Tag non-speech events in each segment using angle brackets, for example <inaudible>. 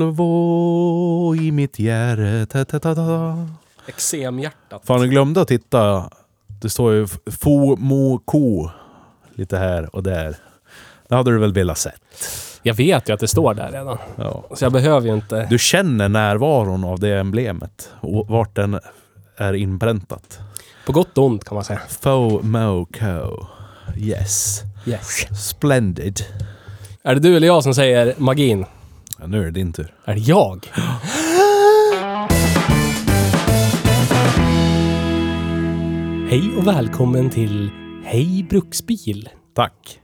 Volvo i mitt hjärta. ta, ta, ta, ta. Eksemhjärtat. Fan, jag glömde att titta. Det står ju f- fo, mo, ko. Lite här och där. Det hade du väl velat sett? Jag vet ju att det står där redan. Ja. Så jag behöver ju inte... Du känner närvaron av det emblemet. Och vart den är inpräntat. På gott och ont kan man säga. Fo, mo, ko. Yes. Yes. Splendid. Är det du eller jag som säger magin? Ja, nu är det din tur. Är det jag? Hej och välkommen till Hej Bruksbil. Tack.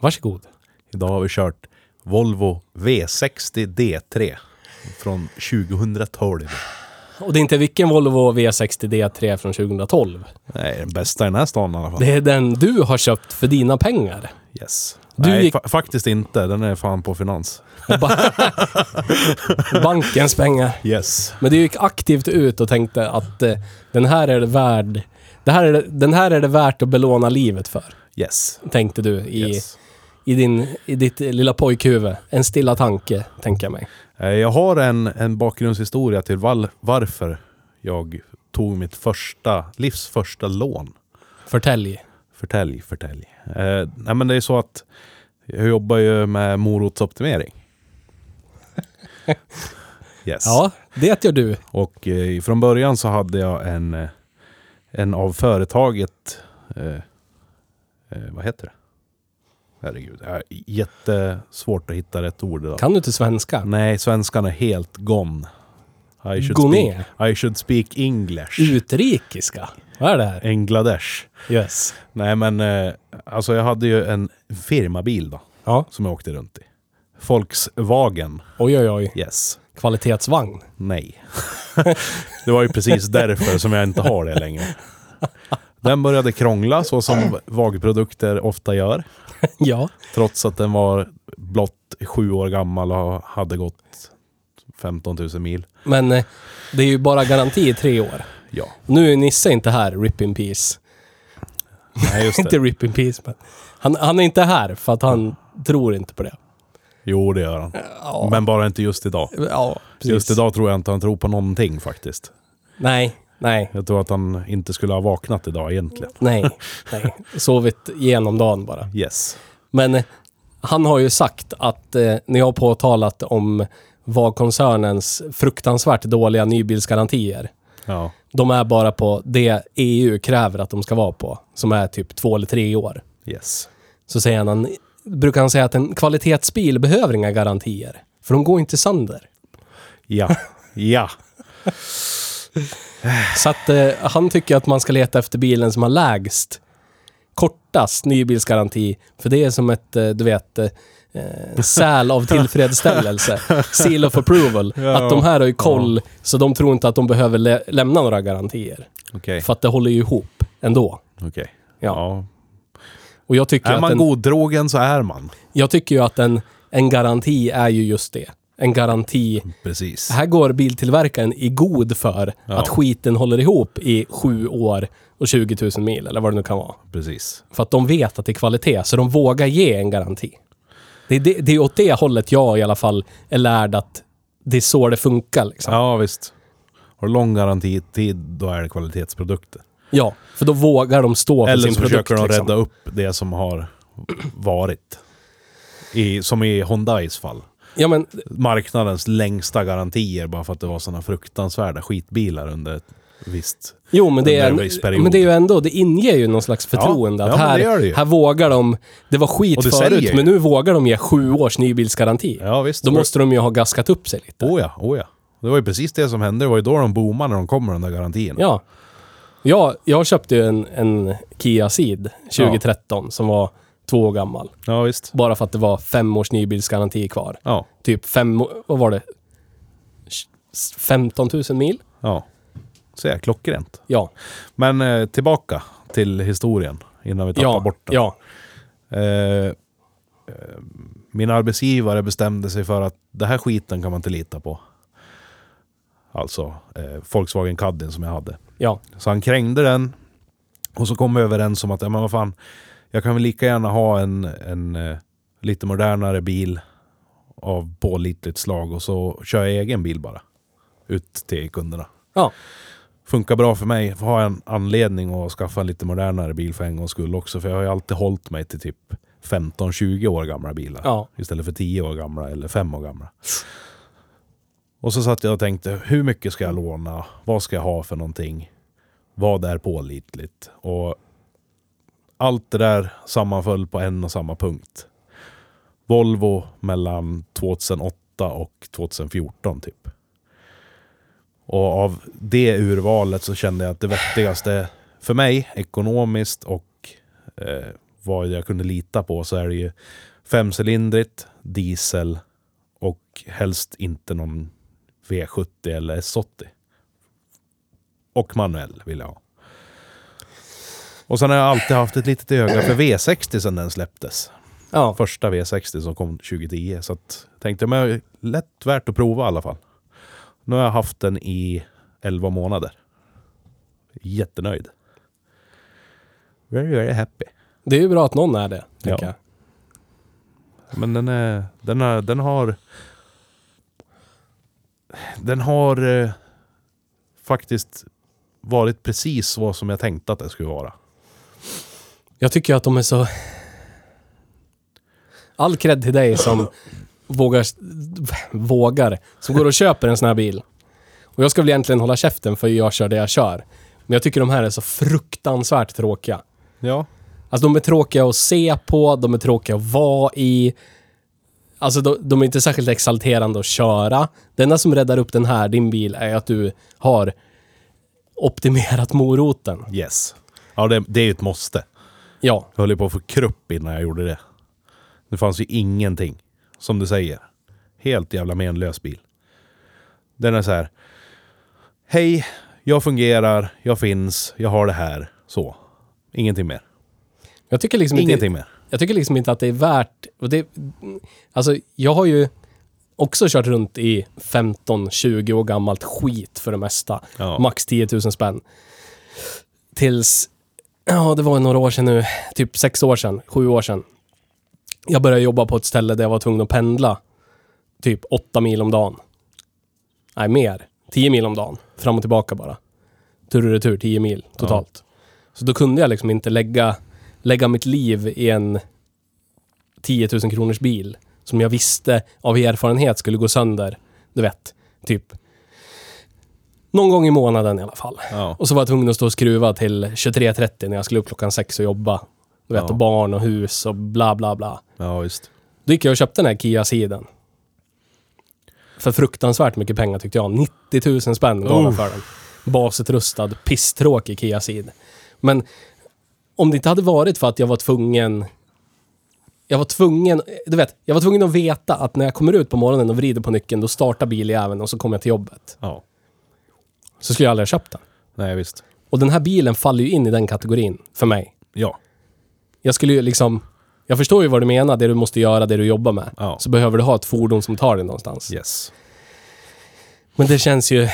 Varsågod. Idag har vi kört Volvo V60 D3. Från 2012. Och det är inte vilken Volvo V60 D3 från 2012. Nej, den bästa i den här stan i alla fall. Det är den du har köpt för dina pengar. Yes. Du Nej, gick- fa- faktiskt inte. Den är fan på finans. Ba- <laughs> Bankens pengar. Yes. Men du gick aktivt ut och tänkte att eh, den här är det värd. Det här är, det- den här är det värt att belåna livet för, Yes. tänkte du i, yes. i, din, i ditt eh, lilla pojkhuvud. En stilla tanke, tänker jag mig. Eh, Jag har en, en bakgrundshistoria till val- varför jag tog mitt första, livs första lån. Förtälj. Förtälj, förtälj. Eh, nej men det är så att jag jobbar ju med <laughs> morotsoptimering. Yes. Ja, det gör du. Och eh, från början så hade jag en, eh, en av företaget... Eh, eh, vad heter det? Herregud, det är jättesvårt att hitta rätt ord idag. Kan du inte svenska? Nej, svenskan är helt gone. I should, Goné. speak, I should speak English. Utrikiska. Vad är det här? Engladesh. Yes. Nej men, eh, alltså jag hade ju en firmabil då, Ja. som jag åkte runt i. Volkswagen. Oj, oj, oj. Yes. Kvalitetsvagn. Nej. det var ju precis därför som jag inte har det längre. Den började krångla så som vagprodukter ofta gör. ja. Trots att den var blott sju år gammal och hade gått 15 000 mil. Men eh, det är ju bara garanti i tre år. Ja, Nu är Nisse inte här, rip in peace. nej just <laughs> inte det. rip in peace, men han, han är inte här för att han tror inte på det. Jo, det gör han. Ja, Men bara inte just idag. ja precis. Just idag tror jag inte han tror på någonting faktiskt. Nej, nej, Jag tror att han inte skulle ha vaknat idag egentligen. nej. nej. Sovit genom dagen bara. Yes. Men eh, han har ju sagt att eh, när jag har påtalat om vad koncernens fruktansvärt dåliga nybilsgarantier, Ja. de är bara på det EU kräver att de ska vara på, som är typ två eller tre år. Yes. Så säger han, han brukar han säga att en kvalitetsbil behöver inga garantier, för de går inte sönder. Ja. Ja. Så att eh, han tycker att man ska leta efter bilen som har lägst, kortast nybilsgaranti. För det är som ett, eh, du vet, eh, eh, säl <laughs> av tillfredsställelse. Seal of approval. Ja. Att de här har ju koll, så de tror inte att de behöver lä- lämna några garantier. Okej. För att det håller ju ihop ändå. Okej. Ja. Ja. Och jag tycker, Är att man en, godtrogen så är man. jag tycker ju att en, en garanti är ju just det. En garanti. Precis. Här går biltillverkaren i god för Ja. att skiten håller ihop i sju år och 20 000 mil, eller vad det nu kan vara. Precis. För att de vet att det är kvalitet, så de vågar ge en garanti. Det är, det, det är åt det hållet jag i alla fall är lärd att det är så det funkar. Liksom. Ja. Ja, visst. Har du lång garantitid, då är det kvalitetsprodukter. för då vågar de stå för Eller sin så produkt. försöker de liksom. rädda upp det som har varit. I, som i Hyundais fall. Ja, men Marknadens längsta garantier bara för att det var sådana fruktansvärda skitbilar under visst. Jo, men det, Under är, en viss period. men det är ju ändå, det inger ju någon slags Ja, förtroende. ja, att men det gör här, det ju. här vågar de, det var Och skit det förut, säljer ju. men nu vågar de ge sju års nybilsgaranti. Ja, visst. Då måste de ju ha gaskat upp sig lite. Oh ja, oh ja. Det var ju precis det som hände. Det var ju då de boomade när de kom med de där garantierna. Ja. ja jag köpte ju en, en Kia Ceed 2013 som var två år gammal. ja visst. Bara för att det var fem års nybilsgaranti kvar. Ja, Typ fem, vad var det? 15 000 mil? ja. Så är klockrent. Ja. Men eh, tillbaka till historien innan vi tappar Ja, bort den. ja. Eh, eh, min arbetsgivare bestämde sig för att det här skiten kan man inte lita på. Alltså eh, Volkswagen Caddien som jag hade. Ja. Så han krängde den. Och så kom vi överens om att, ja men vad fan, jag kan väl lika gärna ha en, en eh, lite modernare bil av pålitligt slag och så kör jag egen bil bara. Ut till kunderna. Ja. Funkar bra för mig, har en anledning att skaffa en lite modernare bil för en gångs skull också. För jag har ju alltid hållit mig till typ 15-20 år gamla bilar. Ja. Istället för 10 år gamla eller 5 år gamla. Och så satt jag och tänkte, hur mycket ska jag låna? Vad ska jag ha för någonting? Vad är pålitligt? Och allt det där sammanföll på en och samma punkt. Volvo mellan 2008 och 2014 typ. Och av det urvalet så kände jag att det vettigaste för mig ekonomiskt och eh, vad jag kunde lita på så är det ju femcylindrigt, diesel och helst inte någon V70 eller S80. Och manuell vill jag ha. Och sen har jag alltid haft ett litet öga för V60 sedan den släpptes. Ja. Första V60 som kom 2010. Så att, tänkte jag, men lätt värt att prova i alla fall. Nu har jag haft den i 11 månader. Jättenöjd. Very, very happy. Det är ju bra att någon är det, tänker Ja. jag. Men den, är, den, är, den har... Den har eh, faktiskt varit precis vad som jag tänkte att det skulle vara. Jag tycker att de är så... All cred till dig som vågar, vågar, som går och köper en sån här bil. Och jag ska väl egentligen hålla käften för jag kör det jag kör. Men jag tycker de här är så fruktansvärt tråkiga. Ja. Alltså de är tråkiga att se på, de är tråkiga att vara i. Alltså de, de är inte särskilt exalterande att köra. Det enda som räddar upp den här, din bil, är att du har optimerat moroten. Yes. Ja, det, det är ju ett måste. Ja, Jag höll ju på att få krupp innan jag gjorde det. Det fanns ju ingenting. Som du säger. Helt jävla menlös bil. Den är så här. Hej, jag fungerar, jag finns, jag har det här. Så. Ingenting mer. jag tycker liksom inte... Ingenting mer. Jag tycker liksom inte att det är värt... Och det, alltså, jag har ju också kört runt i 15-20 år gammalt skit för det mesta. Ja. Max 10 000 spänn. Tills, ja det var några år sedan nu, typ sex år sedan, sju år sedan. Jag började jobba på ett ställe där jag var tvungen att pendla typ åtta mil om dagen. Nej, mer. 10 mil om dagen. Fram och tillbaka bara. Tur och retur, 10 mil totalt. Så då kunde jag liksom inte lägga, lägga mitt liv i en 10 000 kronors bil som jag visste av erfarenhet skulle gå sönder. Du vet, typ någon gång i månaden i alla fall. Ja. Och så var jag tvungen att stå och skruva till 23.30 när jag skulle upp klockan sex och jobba. Du vet, Ja. och barn och hus och bla bla bla. Ja, just. Då gick jag och köpte den här Kia-siden. För fruktansvärt mycket pengar tyckte jag. 90 000 spänn gav jag för den. Basutrustad, pisstråkig Kia-sid. Men om det inte hade varit för att jag var tvungen... Jag var tvungen, du vet, jag var tvungen att veta att när jag kommer ut på morgonen och vrider på nyckeln, då startar biljäveln och så kommer jag till jobbet. Ja. Så skulle jag aldrig ha köpt den. Nej, visst. Och den här bilen faller ju in i den kategorin, för mig. Ja. Jag skulle ju liksom... Jag förstår ju vad du menar, det du måste göra, det du jobbar med. Ja. Så behöver du ha ett fordon som tar dig någonstans. Yes. Men det känns ju...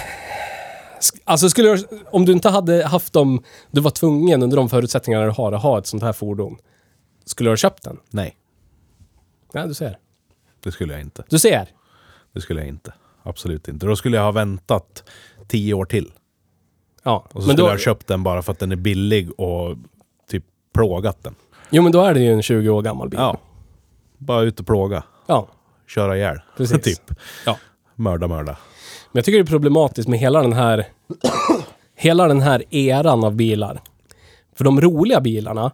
Sk- Alltså skulle jag, om du inte hade haft dem, du var tvungen under de förutsättningarna du har att ha ett sånt här fordon. Skulle du ha köpt den? Nej, Nej, du ser. det skulle jag inte. Du ser! Det skulle jag inte. Absolut inte. Då skulle jag ha väntat tio år till. Ja. Och så Men skulle då, jag ha köpt den bara för att den är billig och typ plågat den. jo, men då är det ju en 20 år gammal bil. Ja. Bara ut och plåga. ja. Köra ihjäl. <laughs> Precis. typ. Ja. Mörda, mörda. Men jag tycker det är problematiskt med hela den här... hela den här eran av bilar. För de roliga bilarna,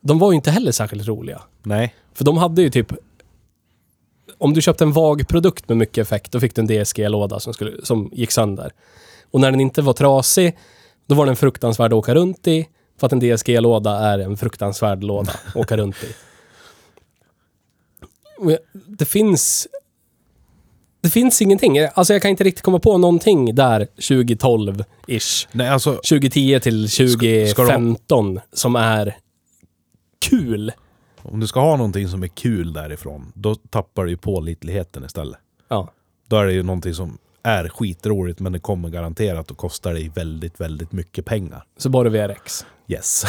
de var ju inte heller särskilt roliga. Nej. För de hade ju typ... Om du köpte en vag produkt med mycket effekt, då fick du en DSG-låda som, skulle, som gick sönder. Och när den inte var trasig, då var den fruktansvärd att åka runt i. För att en DSG-låda är en fruktansvärd låda att åka runt i. Och jag- Det finns... Det finns ingenting. Alltså jag kan inte riktigt komma på någonting där 2012-ish. Nej, alltså 2010 till ska de- 2015 som är kul. om du ska ha någonting som är kul därifrån, då tappar du ju pålitligheten istället. Ja. Då är det ju någonting som är skitroligt, men det kommer garanterat att kosta dig väldigt, väldigt mycket pengar. Så bara VRX. Yes.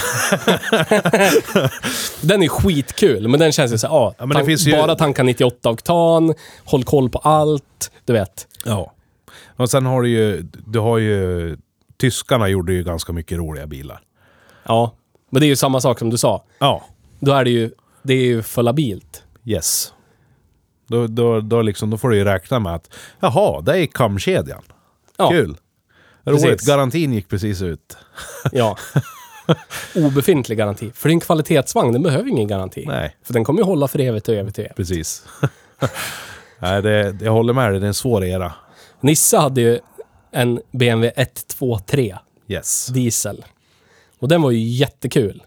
Den är skitkul, men den känns ju såhär, ah, Ja, men det tan- finns ju- bara tanka 98 oktan, håll koll på allt, du vet. Ja. Och sen har du ju, du har ju, tyskarna gjorde ju ganska mycket roliga bilar. Ja. Men det är ju samma sak som du sa. Ja. Då är det ju, det är ju för labilt. Yes. Då, då, då, liksom, då får du ju räkna med att, jaha, där gick kamkedjan. Ja, Kul. Roligt. Precis. Garantin gick precis ut. Ja. <laughs> Obefintlig garanti. För det är en kvalitetsvagn, den behöver ju ingen garanti. Nej. För den kommer ju hålla för evigt och evigt och evigt. Precis. <laughs> Nej, det, jag håller med dig. Det är en svår era. Nissa hade ju en BMW 123 Yes. diesel. Och den var ju jättekul.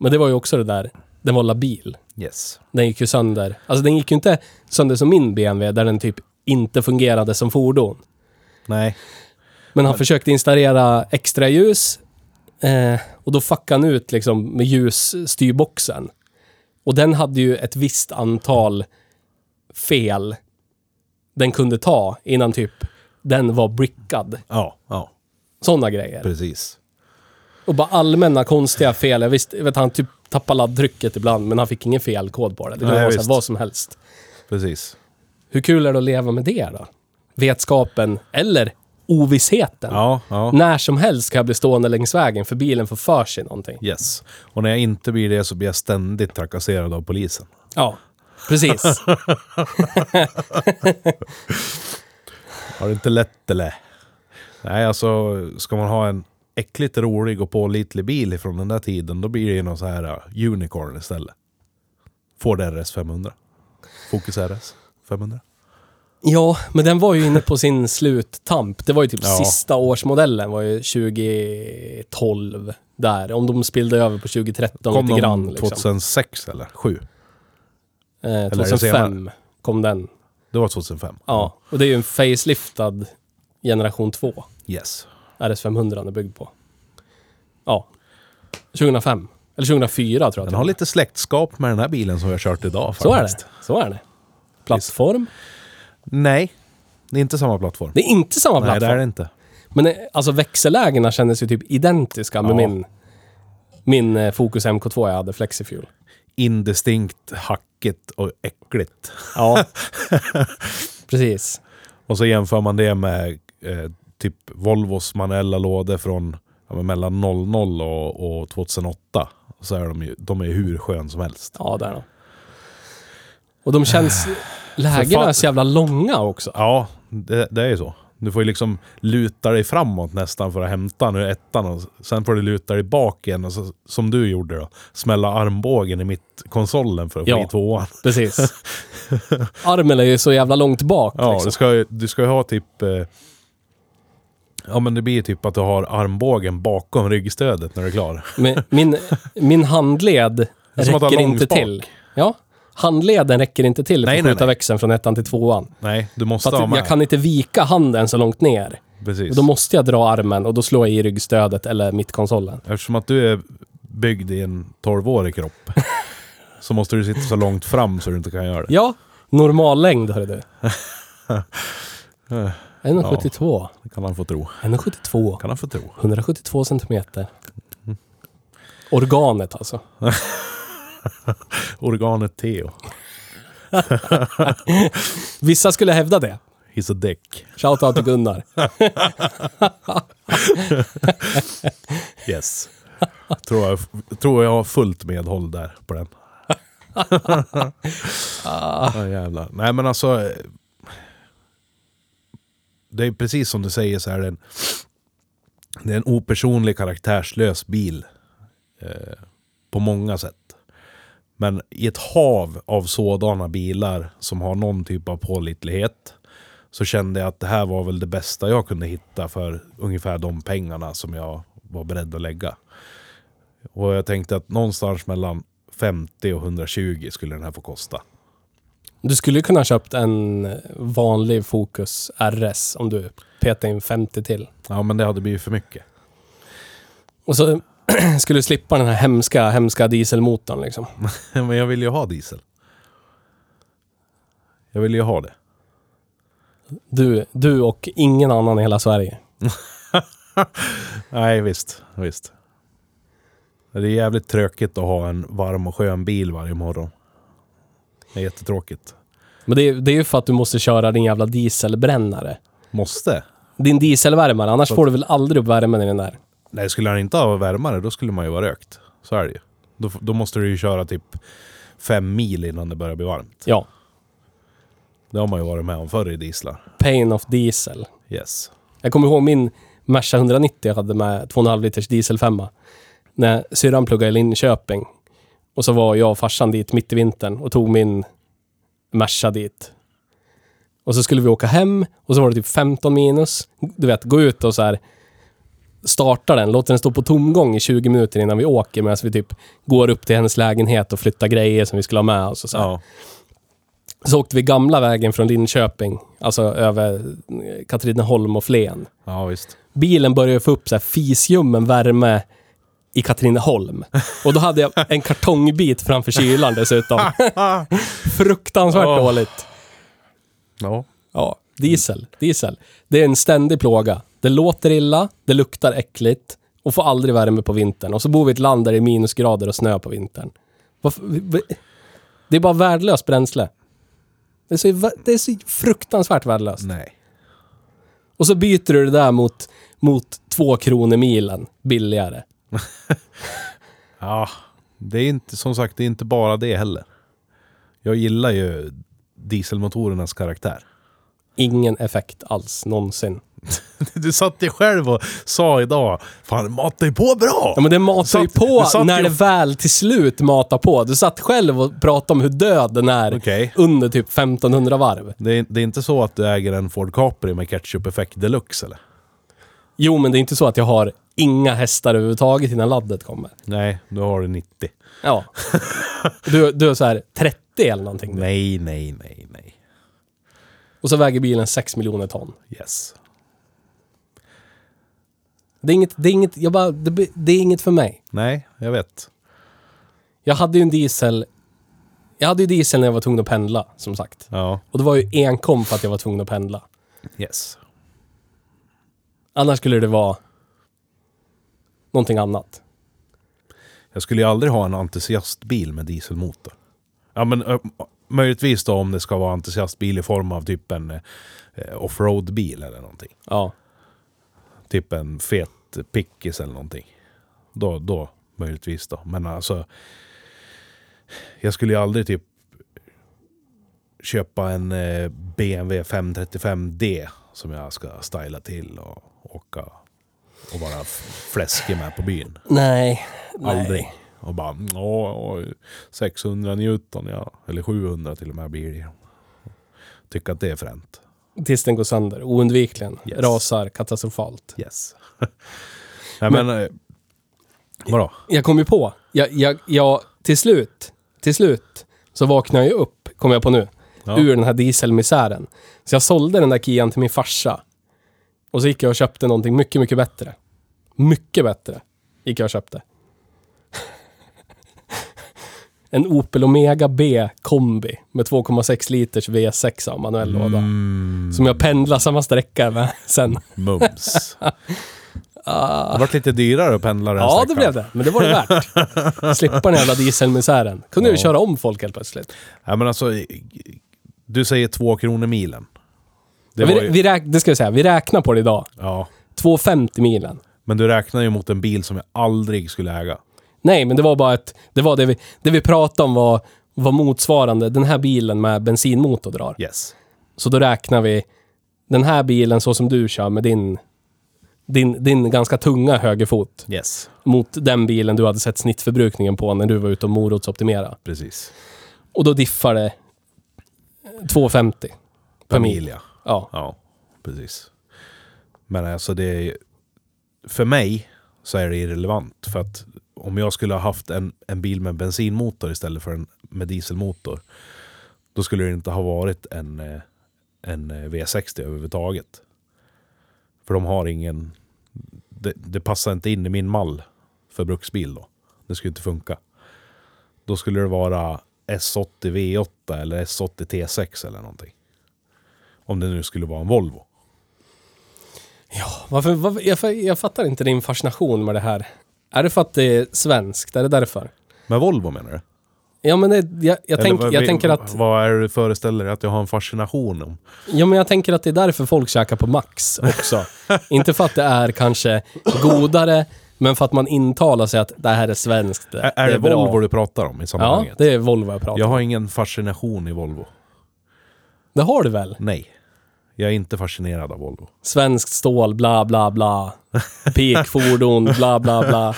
Men det var ju också det där, den var labil. Yes. Den gick ju sönder. Alltså den gick ju inte sönder som min BMW, där den typ inte fungerade som fordon. Nej. Men han försökte installera extra ljus eh, och då fuckade han ut liksom med ljusstyrboxen. Och den hade ju ett visst antal fel den kunde ta innan typ den var brickad. Ja, ja. Sådana grejer. Precis. Och bara allmänna konstiga fel. Jag visste, jag vet, han typ tappade laddtrycket ibland, men han fick ingen felkod på det. Det kunde Nej, vara så här, visst. vad som helst. Precis. Hur kul är det att leva med det då? Vetskapen eller ovissheten. Ja, ja. När som helst kan jag bli stående längs vägen för bilen får för sig någonting. Yes. Och när jag inte blir det så blir jag ständigt trakasserad av polisen. Ja, <laughs> precis. Har det inte lätt eller? Nej, alltså ska man ha en äckligt rolig och pålitlig bil från den där tiden, då blir det ju någon så här uh, unicorn istället. Ford RS 500. Focus RS 500. ja, men den var ju inne på sin sluttamp. Det var ju typ Ja. sista årsmodellen var ju 2012 där. Om de spillde över på 2013 Kom lite den grann. Liksom. 2006 eller 2007? Eh, det 2005 senare? kom den. Det var 2005? Ja, och det är ju en faceliftad generation 2. Yes. RS500 är byggd på. Ja. 2005. Eller 2004 tror jag. att Den det har var. lite släktskap med den här bilen som vi har kört idag Så är faktiskt. det. Så är det. Plattform. Nej, det är inte samma plattform. Det är inte samma Nej, plattform. det är det inte. Men eh, alltså växellägena kändes ju typ identiska med Ja. min, min eh, Focus MK2 jag hade, Flexifuel. Indistinkt, hackigt och äckligt. Ja. <laughs> Precis. Och så jämför man det med eh, typ Volvos manuella lådor från ja, men mellan 00 och, och 2008. Och så är de ju de är ju hur skön som helst. Ja, där då. Och <sighs> de känns... För Lägena fan. är så jävla långa också. Ja, det, det är ju så. Du får ju liksom luta dig framåt nästan för att hämta nu ettan. Och s- sen får du luta dig bak igen och så, som du gjorde då. Smälla armbågen i mitt konsolen för att få Ja. i tvåan. <laughs> Precis. Armen är ju så jävla långt bak. Ja, liksom. du, ska, ju- du ska ju ha typ... Eh, ja, men det blir ju typ att du har armbågen bakom ryggstödet när du är klar. Men min, min handled är som att ha räcker inte långspak. till. Ja. Handleden räcker inte till Nej, för nej, att skjuta nej. växeln från ettan till tvåan. Nej, du måste För ha att med. jag kan inte vika handen så långt ner. Och Precis. då måste jag dra armen och då slår jag i ryggstödet eller mittkonsolen. Eftersom att du är byggd i en 12-årig kropp så måste du sitta så långt fram så du inte kan göra det. Ja, normallängd <laughs> hörru du. 1,72. Det kan han få tro. 1,72. Kan han få tro. 172 centimeter. Organet alltså. Organet Theo. Vissa skulle hävda det. He's a dick. Shoutout till Gunnar. Yes. tror, jag, tror jag har fullt medhåll där på den. ah, jävlar. Nej men alltså. eh, Det är precis som du säger så är det en, Det är en opersonlig, karaktärslös bil. Eh, på många sätt. Men i ett hav av sådana bilar som har någon typ av pålitlighet så kände jag att det här var väl det bästa jag kunde hitta för ungefär de pengarna som jag var beredd att lägga. Och jag tänkte att någonstans mellan 50 och 120 skulle den här få kosta. Du skulle ju kunna ha köpt en vanlig Focus RS om du petade in 50 till. Ja, men det hade blivit för mycket. <laughs> Och så <clears throat> skulle du slippa den här hemska, hemska dieselmotorn liksom. Men jag vill ju ha diesel. Jag vill ju ha det. Du, du och ingen annan i hela Sverige. Nej, visst. visst. Det är jävligt tråkigt att ha en varm och skön bil varje morgon. Det är jättetråkigt. Men det, är- det är ju för att du måste köra din jävla dieselbrännare. Måste. Din dieselvärmare, annars får du väl aldrig upp värmen i den där. Nej, skulle han inte ha värmare då skulle man ju vara rökt. Så är det ju. Då, f- då måste du ju köra typ fem mil innan det börjar bli varmt. Ja, Det har man ju varit med om förr i dieslar. pain of diesel. Yes. Jag kommer ihåg min Merca 190 jag hade med 2,5 liters dieselfemma. När syrran pluggade i Linköping. Och så var jag och farsan dit mitt i vintern och tog min Merca dit. Och så skulle vi åka hem och så var det typ 15 minus. Du vet, gå ut och så här starta den, låter den stå på tomgång i 20 minuter innan vi åker medan vi typ går upp till hennes lägenhet och flyttar grejer som vi skulle ha med oss och så här. Ja. Så åkte vi gamla vägen från Linköping, alltså över eh, Katrineholm och Flen ja, visst. bilen började få upp så här fisljummen värme i Katrineholm. Och då hade jag en kartongbit framför <laughs> kylan dessutom. Fruktansvärt Åh. dåligt. Ja. Ja, diesel. Diesel. Det är en ständig plåga. Det låter illa, det luktar äckligt och får aldrig värme på vintern. Och så bor vi i ett land där det är minusgrader och snö på vintern. Varför? vi- vi- Det är bara värdelöst bränsle. Det är så, det är så fruktansvärt värdelöst. Nej. Och så byter du det där mot, mot två kronor milen billigare. Ja, det är inte, som sagt, det är inte bara det heller. Jag gillar ju dieselmotorernas karaktär. <laughs> Ingen effekt alls någonsin. Du satt ju själv och sa idag, fan matar ju på bra! Ja, men det matar ju Satt- du på satt när ju- det väl till slut matar på. Du satt själv och pratade om hur död den är Okej. under typ 1500 varv. Det, är, det är inte så att du äger en Ford Capri med ketchup-effekt deluxe eller? Jo, men det är inte så att jag har inga hästar överhuvudtaget innan laddet kommer. Nej, du har du 90. Ja. <laughs> Du, du är så här 30 eller någonting. Nej, nej, nej, nej. Och så väger bilen 6 miljoner ton. Yes. Det är inget, det är inget, jag bara, det, be- det är inget för mig. Nej, jag vet. Jag hade ju en diesel... Jag hade ju diesel när jag var tvungen att pendla, som sagt. Ja, Och det var ju enkom för att jag var tvungen att pendla. yes. Annars skulle det vara någonting annat. Jag skulle ju aldrig ha en entusiastbil med dieselmotor. Ja, men ö, möjligtvis då om det ska vara entusiastbil i form av typ en eh, offroad-bil eller någonting. Ja. Typ en fet pickis eller någonting. Då, då möjligtvis då. Men alltså. Jag skulle ju aldrig typ köpa en eh, BMW 535D som jag ska styla till och åka och vara f- fläskig med på byn. Nej. nej. Aldrig. Och bara, ja, ja, 600 Newton, ja. Eller 700 till och med blir det. Tycker att det är fränt. Tills den går sönder. Oundvikligen. Yes. Rasar katastrofalt. Yes. <laughs> Nej men, eh, vadå? Jag kom ju på. Jag, jag, jag, till slut, till slut så vaknade jag ju upp, kom jag på nu, Ja. ur den här dieselmisären. Så jag sålde den där Kian till min farsa. Och så gick jag och köpte någonting mycket, mycket bättre. Mycket bättre gick jag och köpte. <laughs> en Opel Omega B kombi med 2,6 liters V6 av manuell låda. Som jag pendlar samma sträcka med sen. <laughs> Mums. Det vart lite dyrare att pendla den Ah. Ja, det sträckan. blev det. Men det var det <laughs> värt. Slippa den jävla dieselmisären. Kunde vi Ja. köra om folk helt plötsligt. Ja, men alltså, du säger två kronor milen. Det var vi, ju, vi räk, det ska jag säga, vi räknar på det idag. ja, 2,50 milen. men du räknar ju mot en bil som jag aldrig skulle äga. Nej, men det var bara ett... Det, var det, vi, det vi pratade om var, var motsvarande den här bilen med bensinmotor drar. Yes. Så då räknar vi den här bilen så som du kör med din Din, din ganska tunga högerfot Yes. mot den bilen du hade sett snittförbrukningen på när du var ute och morotsoptimera. Precis. Och då diffar det 2,50 per mil. Familia. Ja. Ja, precis. Men alltså det är... För mig så är det irrelevant. För att om jag skulle ha haft en, en bil med bensinmotor istället för en med dieselmotor. Då skulle det inte ha varit en, eh, en eh, V60 överhuvudtaget. För de har ingen... Det, det passar inte in i min mall för bruksbil då. Det skulle inte funka. Då skulle det vara S80 V8 eller S80 T6 eller någonting. Om det nu skulle vara en Volvo. Varför, varför, jag, jag fattar inte din fascination med det här. Är det för att det är svenskt? Är det därför? Med Volvo menar du? Ja, men det, jag, jag, Eller tänk, vad- jag vi- tänker att... Vad är det du föreställer dig att jag har en fascination om? Ja, men jag tänker att det är därför folk käkar på <laughs> Max också. inte för att det är kanske godare, men för att man intalar sig att det här är svenskt. Är, är det, bra. Volvo du pratar om i Ja, sammanhanget? det är Volvo jag pratar Jag om. har ingen fascination i Volvo. Det har du väl? Nej. Jag är inte fascinerad av Volvo. Svenskt stål, bla, <laughs> bla, bla. Peakfordon, bla, bla, bla.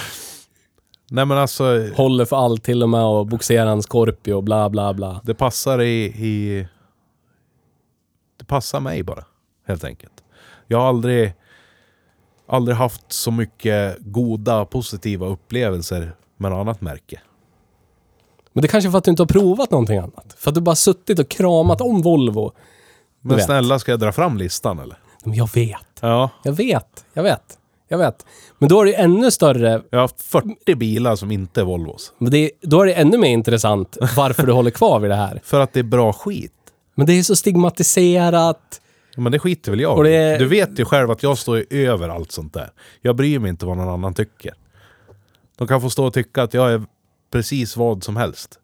Nej men alltså, Håller för allt till och med och boxerar en Scorpio, bla, bla, bla. det passar i, i... Det passar mig bara, helt enkelt. Jag har aldrig, aldrig haft så mycket goda, positiva upplevelser med något annat märke. Men det är kanske är för att du inte har provat någonting annat. För att du bara suttit och kramat om Volvo. Men vet. snälla, ska jag dra fram listan eller? Men jag vet. Ja. Jag vet. Jag vet. Jag vet. Men då är det ju ännu större... Jag har haft 40 bilar som inte är Volvos. men Det, då är det ännu mer intressant varför du håller kvar vid det här. För att det är bra skit. Men det är så stigmatiserat. Ja, Men det skiter väl jag Och i. det- Du vet ju själv att jag står ju över allt sånt där. Jag bryr mig inte vad någon annan tycker. De kan få stå och tycka att jag är precis vad som helst.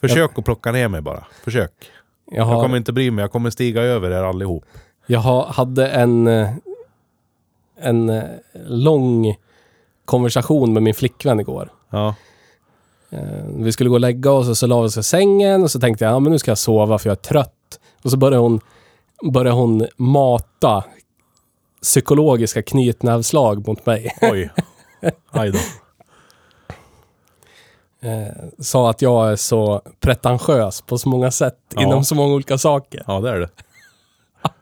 Försök att plocka ner mig bara. Försök. Jag, Jag kommer har, inte bry mig. Jag kommer stiga över er allihop. jag har, hade en, eh, en eh, lång konversation med min flickvän igår. Ja. Eh, Vi skulle gå och lägga oss och så la vi oss i sängen och så tänkte jag, ja men nu ska jag sova för jag är trött. Och så började hon, började hon mata psykologiska knytnävslag mot mig. Oj. Aj då. Sa att jag är så pretentiös på så många sätt Ja. inom så många olika saker. Ja, det är det.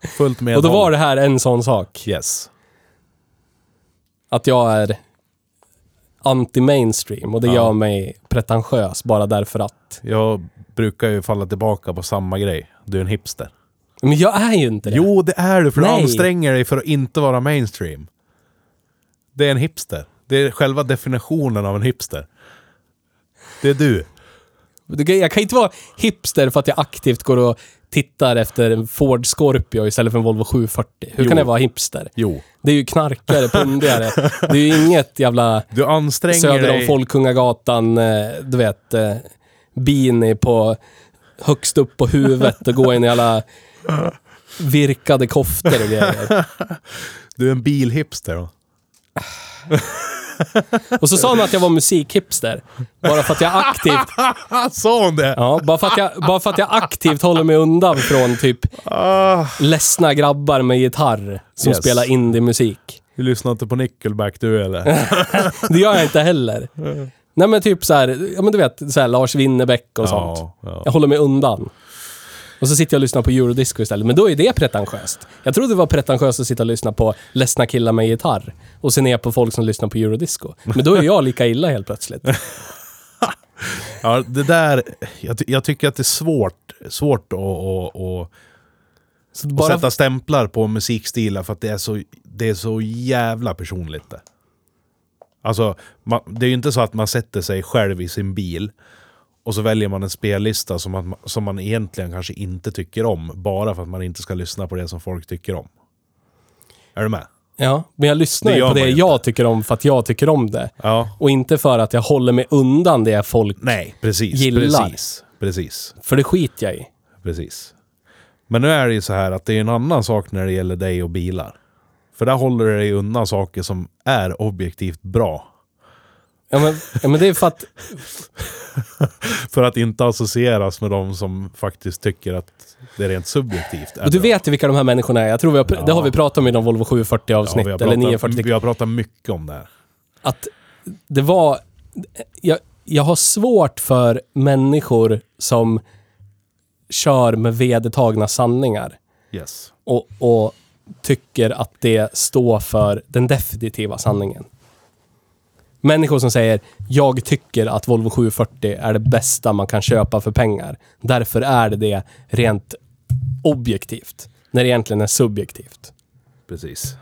Fullt med Och då var det här en sån sak. Yes. Att jag är anti-mainstream och det Ja. gör mig pretentiös bara därför att. Jag brukar ju falla tillbaka på samma grej. Du är en hipster. Men jag är ju inte det. Jo, det är du, för Nej. du anstränger dig för att inte vara mainstream. Det är en hipster. Det är själva definitionen av en hipster. Det är du. Du- Jag kan inte vara hipster för att jag aktivt går och tittar efter en Ford Scorpio istället för en Volvo 740. Hur Jo. kan jag vara hipster? Jo. Det är ju knarkare, pundare. <laughs> Det är ju inget jävla Du anstränger söder om dig. Folkungagatan, eh, du vet, eh, beanie på högst upp på huvudet och gå in i alla virkade koftor och grejer. Du är en bilhipster. <laughs> va? Och så sa han att jag var musikhipster. Bara för att jag aktivt <laughs> Ah, sa hon det? Ja, bara för, att jag, bara för att jag aktivt håller mig undan från typ Ah. ledsna grabbar med gitarr som Yes. spelar indie-musik. Du lyssnar inte på Nickelback du <laughs> eller? Det gör jag inte heller. Nej men typ så här, ja men du vet, så här Lars Winnerbäck och sånt. Ja, ja. Jag håller mig undan. Och så sitter jag och lyssnar på eurodisco istället, men då är det pretentiöst. Jag trodde det var pretentiöst att sitta och lyssna på ledsna killar med gitarr och se ner på folk som lyssnar på eurodisco. Men då är jag lika illa helt plötsligt. Ja, det där. Jag, ty- jag tycker att det är svårt, svårt att, att, att, Så att bara, sätta stämplar på musikstilar för att det är så, det är så jävla personligt det. Alltså, man, det är ju inte så att man sätter sig själv i sin bil och så väljer man en spellista som, att, ma- som man egentligen kanske inte tycker om bara för att man inte ska lyssna på det som folk tycker om. Är du med? ja, men jag lyssnar Det ju gör på det man ju jag tycker om för att jag tycker om det. Ja. Och inte för att jag håller mig undan det folk... Nej, precis. Gillar. Precis. Precis. För det skiter jag i. Precis. Men nu är det ju så här att det är en annan sak när det gäller dig och bilar. För där håller du dig undan saker som är objektivt bra. Ja, men, ja, men det är för att... För att inte associeras med de som faktiskt tycker att det är rent subjektivt. Och du vet ju vilka de här människorna är. Jag tror vi har, pr- Ja. Det har vi pratat om i någon Volvo 740 avsnitt, vi har eller pratat- 940. Vi har pratat mycket om det här. Att det var... Jag, jag har svårt för människor som kör med vedertagna sanningar Yes. och, och tycker att det står för den definitiva sanningen. Människor som säger “Jag tycker att Volvo 740 är det bästa man kan köpa för pengar. Därför är det det rent objektivt, när det egentligen är subjektivt”. Precis.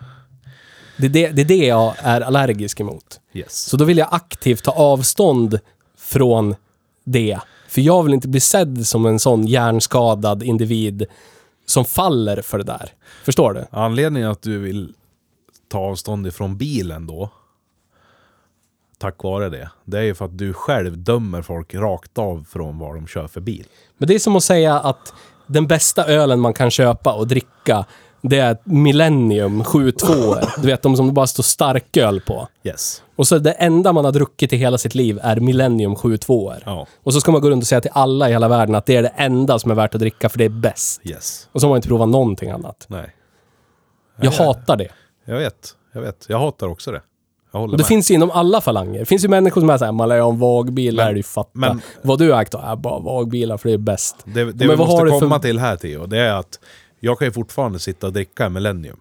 Det är det, det, är det jag är allergisk emot. Yes. Så då vill jag aktivt ta avstånd från det. För jag vill inte bli sedd som en sån hjärnskadad individ som faller för det där. Förstår du? Anledningen att du vill ta avstånd ifrån bilen då, tack vare det, det är ju för att du själv dömer folk rakt av från vad de kör för bil. Men det är som att säga att den bästa ölen man kan köpa och dricka, det är Millennium 72 Du vet, de som det bara står starköl på. Yes. Och så det enda man har druckit i hela sitt liv är Millennium 72 Ja. Och så ska man gå runt och säga till alla i hela världen att det är det enda som är värt att dricka, för det är bäst. Yes. Och så har man inte provat någonting annat. Nej. Jag hatar det. Jag vet. Jag vet. Jag hatar också det. Jag håller Och det med. finns ju inom alla falanger. Det finns ju människor som är såhär, man lär ju om vagbilar, det är ju fatta. men- vad du har ägt då? Äh, bara vagbilar för det är bäst. Det, det men vi vad har måste du för- komma till här Theo, det är att jag kan ju fortfarande sitta och dricka en Millennium.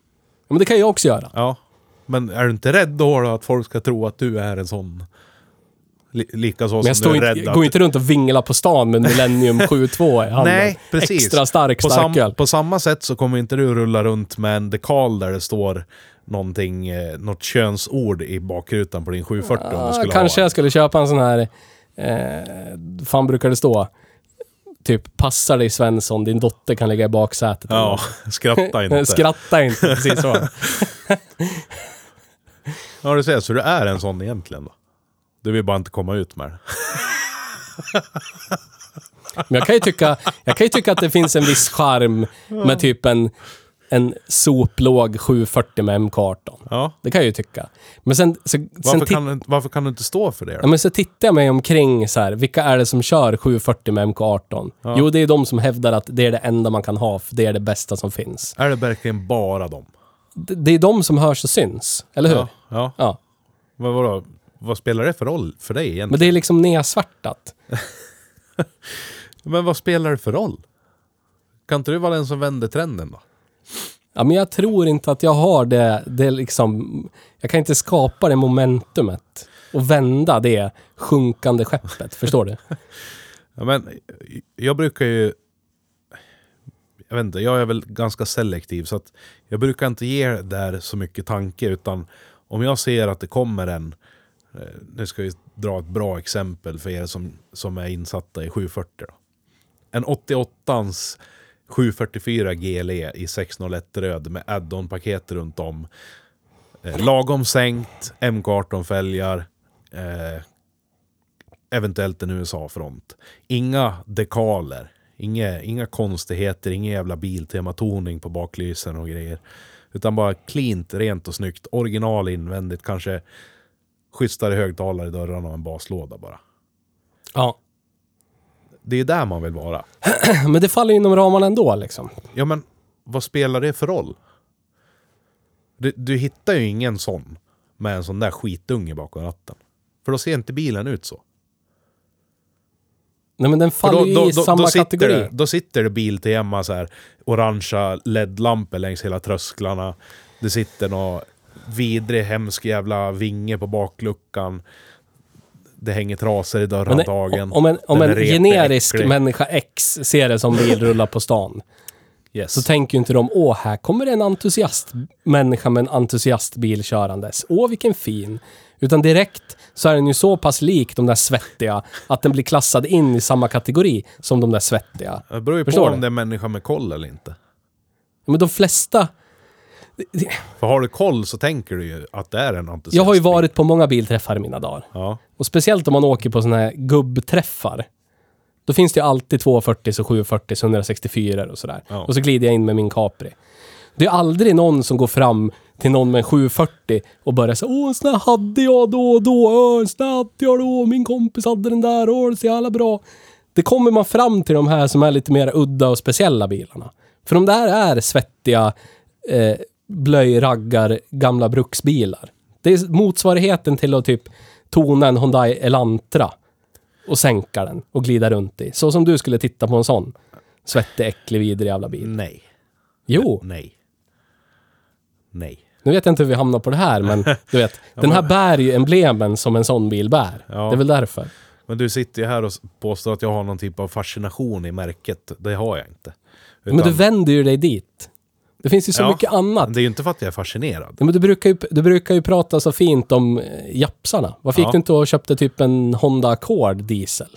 Ja, Men det kan jag också göra. Ja. Men är du inte rädd då, då att folk ska tro att du är en sån... Li, lika så Men jag som står du är inte, rädd jag att går inte runt och vinglar på stan med Millennium 72 i handen. Nej, precis. Extra stark på, sam- starköl. på samma sätt så kommer inte du rulla runt med en dekal där det står någonting, eh, något könsord i bakrutan på din 740 om du Ah, skulle kanske ha jag skulle köpa en sån här, eh, fan brukar det stå? Typ, passar dig Svensson, din dotter kan ligga i baksätet. Ja, <laughs> skratta Eller- inte. Skratta inte, precis så. Ja, du ser, så du är en sån egentligen då? Du vill bara inte komma ut med det. Men jag kan ju tycka, jag kan ju tycka att det finns en viss charm med typ en, en soplåg 740 med MK18. Ja. Det kan jag ju tycka. Men sen, så, sen, Varför tit- kan, du, inte- varför kan du inte stå för det ja, då? men så tittar jag mig omkring så här, vilka är det som kör 740 med MK18? Jo, det är de som hävdar att det är det enda man kan ha, för det är det bästa som finns. Är det verkligen bara dem? Det, det är de som hörs och syns, eller hur? Ja. ja. ja. Men vadå? Vad spelar det för roll för dig egentligen? Men det är liksom nedsvärtat. Men, vad spelar det för roll? Kan inte du vara den som vänder trenden då? Ja, men jag tror inte att jag har det, det är liksom, jag kan inte skapa det momentumet och vända det sjunkande skeppet, <laughs> förstår du? Ja, men jag brukar ju... Jag vet inte, jag är väl ganska selektiv så att jag brukar inte ge det där så mycket tanke utan om jag ser att det kommer en... eh, Nu ska vi dra ett bra exempel för er som, som är insatta i 740 då. En 88ans 744 GLE E i 601 röd med add-on-paket runt om. Eh, lagom sänkt, MK18-fälgar. Eh, eventuellt en USA-front. Inga dekaler, inga, inga konstigheter, ingen jävla biltematoning på baklysen och grejer. Utan bara cleant, rent och snyggt, original invändigt, kanske schysstare högtalare i dörrarna och en baslåda bara. Ja. Det är där man vill vara. Men det faller inom ramarna ändå liksom. Ja men, vad spelar det för roll? Du, du hittar ju ingen sån med en sån där skitunge bakom ratten. För då ser inte bilen ut så. Nej men den För faller ju i samma då sitter kategori. Det, då sitter det Biltema så här, orangea LED-lampor längs hela trösklarna. Det sitter någon vidrig hemsk jävla vinge på bakluckan. Det hänger trasor i Men det- dörrhandtagen. om en, om Den en är repig, generisk äcklig. människa X ser det som bil rulla på stan, Yes. så tänker ju inte de åh, här kommer det en entusiastmänniska med en entusiastbil körandes. Åh, vilken fin. Utan direkt så är den ju så pass lik de där svettiga att den blir klassad in i samma kategori som de där svettiga. det beror ju på Förstår om du? det är en människa med koll eller inte. Men de flesta... För har du koll så tänker du ju att det är en entusiast. Jag har ju varit på många bilträffar i mina dagar. Ja, Och speciellt om man åker på sådana här gubbträffar. Då finns det ju alltid 240, så 740, så 164 och sådär. Ja. Och så glider jag in med min Capri. Det är aldrig någon som går fram till någon med en 740 och börjar säga Åh, en sån här hade jag då och då. Åh, en sån här hade jag då. Min kompis hade den där. Åh, det är så jävla bra. Det kommer man fram till de här som är lite mer udda och speciella bilarna. För de där är svettiga eh, blöjraggar, gamla bruksbilar. Det är motsvarigheten till att typ tona en Hyundai Elantra och sänka den och glida runt i. Så som du skulle titta på en sån svettig, äcklig, vidrig jävla bil. Nej. Jo, Nej. Nej. nu vet jag inte hur vi hamnar på det här, men du <laughs> vet, den här bär ju emblemen som en sån bil bär. Ja. Det är väl därför. Men du sitter ju här och s- påstår att jag har någon typ av fascination i märket. Det har jag inte. Men du Utan- vänder ju dig dit. Det finns ju så Ja. mycket annat. Det är ju inte för att jag är fascinerad. Ja, men du, brukar ju, du brukar ju prata så fint om eh, japsarna. Varför gick Ja. du inte och köpte typ en Honda Accord diesel?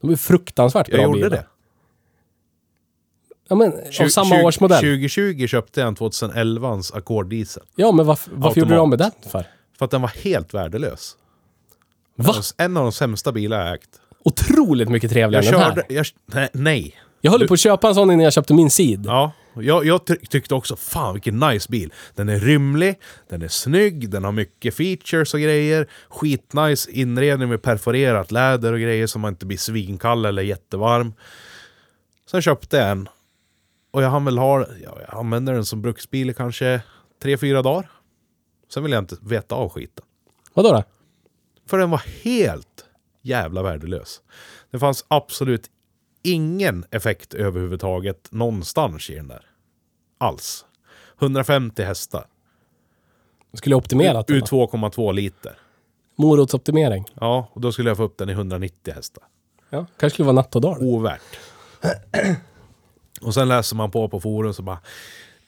De är ju fruktansvärt Jag bra gjorde bilar. det. Ja, men, av Tju- samma tjugo- årsmodell. 2020 köpte jag en 2011s Accord diesel. Ja, men varför, varför gjorde du om med den för? För att den var helt värdelös. Va? En av de sämsta bilar jag ägt. Otroligt mycket Jag trevligare än Ah. den körde... här. Jag, nej, nej. Jag höll på att köpa en sån innan jag köpte min Ceed. Ja, jag, jag ty- tyckte också fan vilken nice bil. Den är rymlig, den är snygg, den har mycket features och grejer. Skitnice inredning med perforerat läder och grejer så man inte blir svinkall eller jättevarm. Sen köpte jag en. Och jag hann väl ha, ja, jag använde den som bruksbil i kanske tre fyra dagar. Sen vill jag inte veta av skiten. Vadå då? För den var helt jävla värdelös. Det fanns absolut ingen effekt överhuvudtaget någonstans i den där. Alls. 150 hästar. Skulle jag optimerat den Ur då? 2,2 liter. Morotsoptimering. Ja, och då skulle jag få upp den i 190 hästar. Ja, kanske skulle vara natt och dag. Ovärt. Och sen läser man på på forum så bara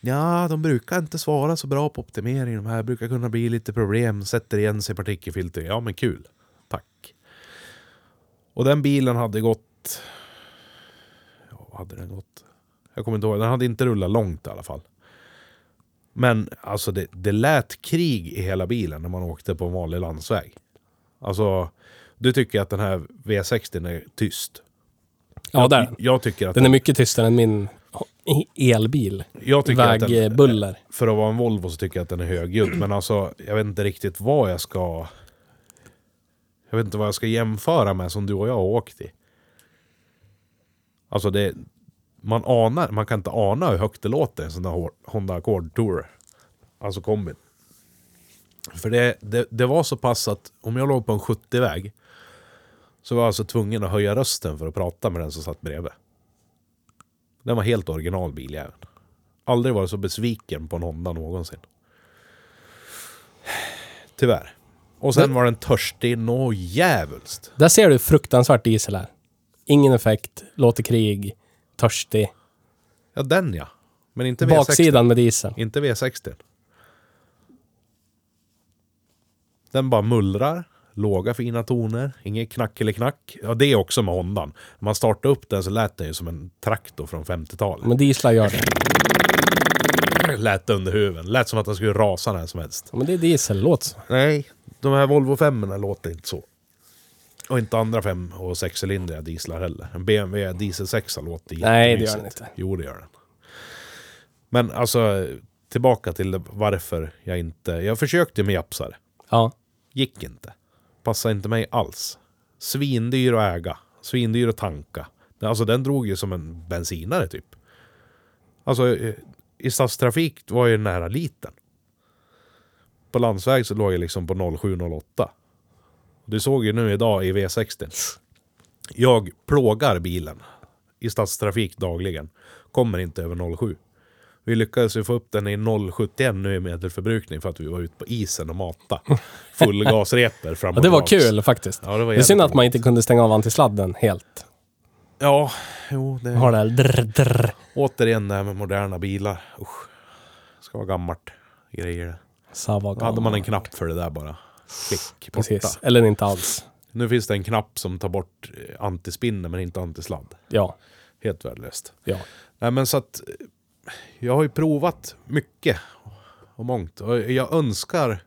Ja, de brukar inte svara så bra på optimering. De här brukar kunna bli lite problem. Sätter igen sig partikelfilter. Ja, men kul. Tack. Och den bilen hade gått... Ja, vad hade den gått? Jag kommer inte ihåg. Den hade inte rullat långt i alla fall. Men alltså, det, det lät krig i hela bilen när man åkte på en vanlig landsväg. Alltså, du tycker att den här V60 är tyst. Ja, där. är den. Jag tycker att Den är mycket tystare än min elbil. Jag tycker att den- Vägbuller. för att vara en Volvo så tycker jag att den är högljudd. Men alltså, jag vet inte riktigt vad jag ska... Jag vet inte vad jag ska jämföra med som du och jag har åkt i. Alltså det... Man anar, man kan inte ana hur högt det låter i en sån där Hor- Honda Accord Tourer. Alltså kombin. För det, det, det var så pass att om jag låg på en 70-väg så var jag alltså tvungen att höja rösten för att prata med den som satt bredvid. Den var helt original biljäveln. Aldrig varit så besviken på en Honda någonsin. Tyvärr. Och sen var den törstig nå jävulst. Där ser du fruktansvärt diesel här. Ingen effekt, låter krig, törstig. Ja, den ja. Men inte V60. Baksidan med diesel. Inte V60. Den bara mullrar. Låga fina toner. Inget knack eller knack. Ja, det är också med Hondan. När man startade upp den så lät den ju som en traktor från 50-talet. Men dieslar gör det. Lät under huven. Lät som att den skulle rasa när som helst. Ja, Men det är diesel, låt så. Nej, de här Volvo 5 låter inte så. Och inte andra fem och sexcylindriga dieslar heller. En BMW diesel 6 låter Nej, det gör jättemysigt. den inte. Jo, det gör den. Men alltså, tillbaka till varför jag inte... Jag försökte med japsare. Ja. Gick inte. Passade inte mig alls. Svindyr att äga. Svindyr att tanka. Men Alltså den drog ju som en bensinare typ. Alltså eh, i stadstrafik var jag ju nära liten. På landsväg så låg jag liksom på 07-08. Du såg ju nu idag i V60. Jag plågar bilen i stadstrafik dagligen. Kommer inte över 07. Vi lyckades ju få upp den i 0,71 nu i medelförbrukning för att vi var ute på isen och mata. <laughs> Fullgasrepor fram och ja, det var tillbaks. kul faktiskt. Ja, det var det är synd jävligt att man inte kunde stänga av antisladden helt. Ja, jo, det Har det här drr, drr. Återigen det här med moderna bilar. Usch. Ska vara gammalt. Grejer det. Då Savaga. hade man en knapp för det där bara. Klick, borta. Precis. Eller inte alls. Nu finns det en knapp som tar bort eh, antispinne men inte antisladd. Ja. Helt värdelöst. Ja. Nej men så att eh, jag har ju provat mycket och mångt. Och jag önskar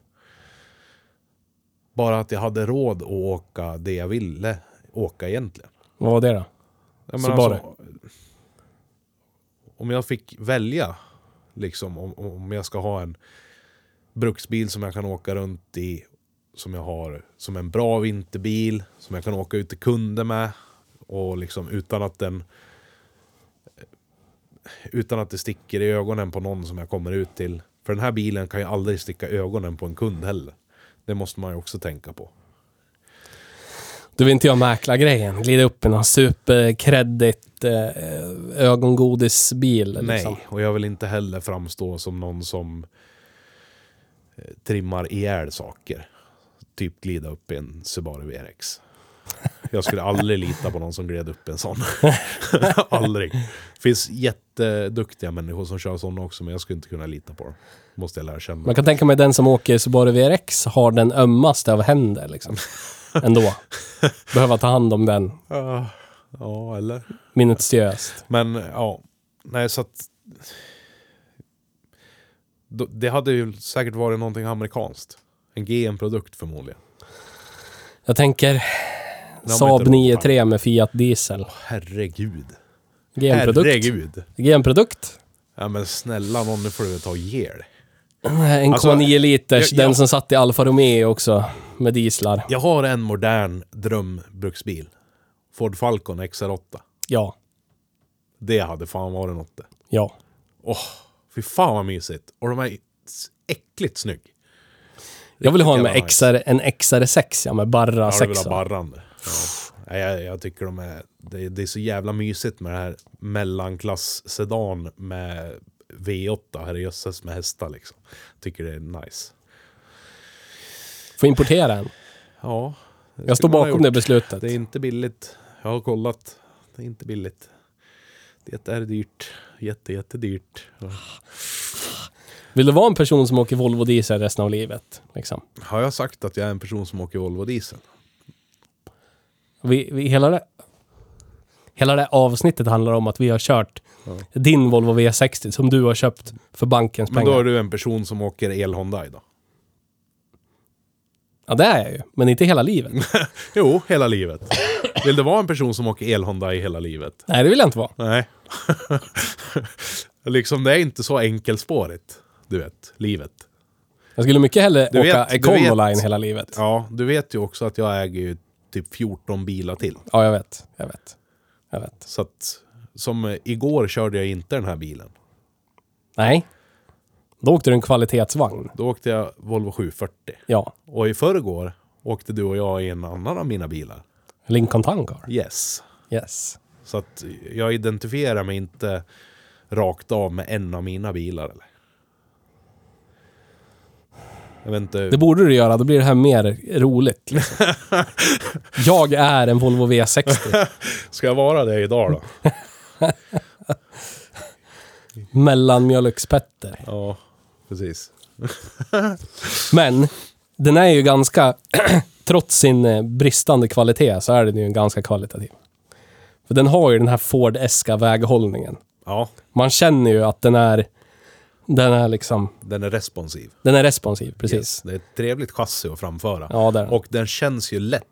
bara att jag hade råd att åka det jag ville åka egentligen. Vad var det då? Jag Så menar, bara- alltså, om jag fick välja, liksom om, om jag ska ha en bruksbil som jag kan åka runt i. Som jag har som en bra vinterbil. Som jag kan åka ut till kunder med. Och liksom utan att den... Utan att det sticker i ögonen på någon som jag kommer ut till. För den här bilen kan ju aldrig sticka i ögonen på en kund heller. Det måste man ju också tänka på. Då vill inte jag mäkla grejen. Glida upp i någon superkredit eh, ögongodisbil. Liksom. Nej, och jag vill inte heller framstå som någon som eh, trimmar ihjäl saker. Typ glida upp i en Subaru VRX. Jag skulle aldrig lita på någon som gled upp i en sån. <laughs> aldrig. Det finns jätteduktiga människor som kör sådana också, men jag skulle inte kunna lita på dem. Måste jag lära känna. Man kan tänka mig den som åker Subaru VRX har den ömmaste av <laughs> händer liksom. Ändå. Behöva ta hand om den Ah, ja, eller? minutiöst. Men ja, nej så att... Då- Det hade ju säkert varit någonting amerikanskt. En GM-produkt förmodligen. Jag tänker Det har man Saab inte råd med. 9.3 med Fiat Diesel. Herregud. GM-produkt. Herregud. GM-produkt. Ja men snälla någon, nu får du väl ta och ge dig. 1,9 Alltså, liters, jag- jag- den som satt i Alfa Romeo också. Med dieslar. Jag har en modern drömbruksbil. Ford Falcon XR8. Ja. Det hade fan varit något det. Ja. Fy fan vad mysigt. Och de är äckligt snygg. Jag vill ha en, med jävla nice. XR, en XR6, ja, med barra Ja, det vill 6. ha barrande. Ja. Nej, Jag, jag tycker de är... Det, det är så jävla mysigt med det här mellanklass-sedan med V8 herrejösses med hästar liksom. Tycker det är nice. Får importera en. Ja. det Jag står skulle man ha bakom gjort. det beslutet. Det är inte billigt. Jag har kollat. Det är inte billigt. Det är dyrt. Jätte, jättedyrt. Vill du vara en person som åker Volvo diesel resten av livet? Liksom? Har jag sagt att jag är en person som åker Volvo diesel? Vi, vi, hela, det, hela det avsnittet handlar om att vi har kört din Volvo V60 som du har köpt för bankens Men pengar. då är du en person som åker el-Hyundai då? Ja, det är jag ju. Men inte <laughs> hela livet. <laughs> Jo, hela livet. Vill du vara en person som åker el-Hyundai hela livet? Nej, det vill jag inte vara. Nej. <laughs> liksom, det är inte så enkelspårigt. Du vet, livet. Jag skulle mycket hellre Du åka vet- du Econoline vet. hela livet. Ja. Ja, du vet ju också att jag äger ju typ 14 bilar till. jag vet. Jag vet. Jag vet. Så att, som eh, igår körde jag inte den här bilen. Nej. Då åkte du en kvalitetsvagn. Då åkte jag Volvo 740. Ja. Och i förrgår åkte du och jag i en annan av mina bilar. Lincoln Tangar. Yes. Yes. Så att jag identifierar mig inte rakt av med en av mina bilar. Eller? Jag vet inte. Det borde du göra, då blir det här mer roligt. Liksom. jag är en Volvo V60. Ska jag vara det idag då? Mellanmjölkspetter. ja, precis. Men den är ju ganska, <clears throat> trots sin eh, bristande kvalitet, så är den ju ganska kvalitativ. För den har ju den här Ford Esca väghållningen. Ja, Man känner ju att den är, den är liksom, den är responsiv. den är responsiv, precis. Det är ett trevligt chassi att framföra. Ja, det är den. Och den känns ju lätt.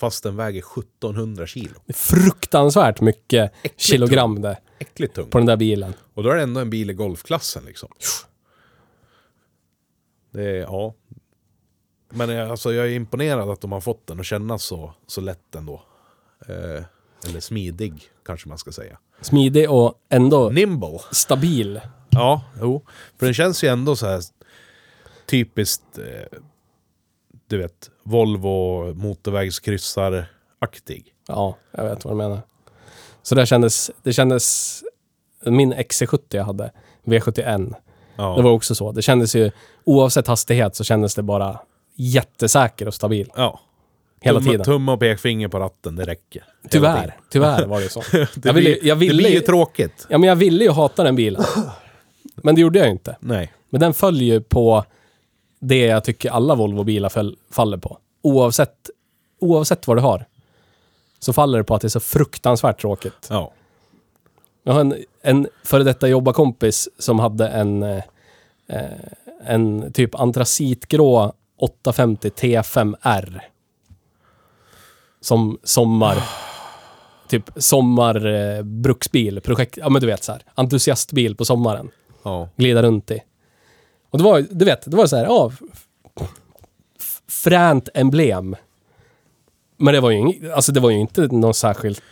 Fast den väger 1700 kilo. Det är fruktansvärt mycket kilogram det, Äckligt tung. på den där bilen. Och då är det ändå en bil i golfklassen liksom. Det är, ja. Men jag- alltså, jag är imponerad att de har fått den att kännas så, så lätt ändå. Eh, eller smidig, kanske man ska säga. Smidig och ändå Nimble. stabil. Ja, jo. För den känns ju ändå så här typiskt, eh, du vet, Volvo motorvägskryssar-aktig. Ja, jag vet vad du menar. Så det kändes, det kändes... Min XC70 jag hade, V71, Ja. det var också så. Det kändes ju, oavsett hastighet så kändes det bara jättesäker och stabil ja. hela tumme, tiden. tumme och pekfinger på ratten, det räcker. Hela tiden. tyvärr, tyvärr var det så. <laughs> Det, jag, ville, blir, ju- jag, ville, det blir ju ju, tråkigt. ja, men jag ville ju hata den bilen. Men det gjorde jag ju inte. Nej. Men den föll ju på det jag tycker alla Volvo-bilar föll, faller på. Oavsett, oavsett vad du har. Så faller det på att det är så fruktansvärt tråkigt. Ja. Jag har en, en före detta jobbarkompis som hade en, eh, eh, en typ antracitgrå 850 T5R. Som sommar... Typ sommar eh, bruksbil, projekt, ja men du vet så här, entusiastbil på sommaren. Ja. Glida runt i. Och det var, du vet, det var så här, ja, f- f- fränt emblem. Men det var ju, ing, alltså det var ju inte någon särskilt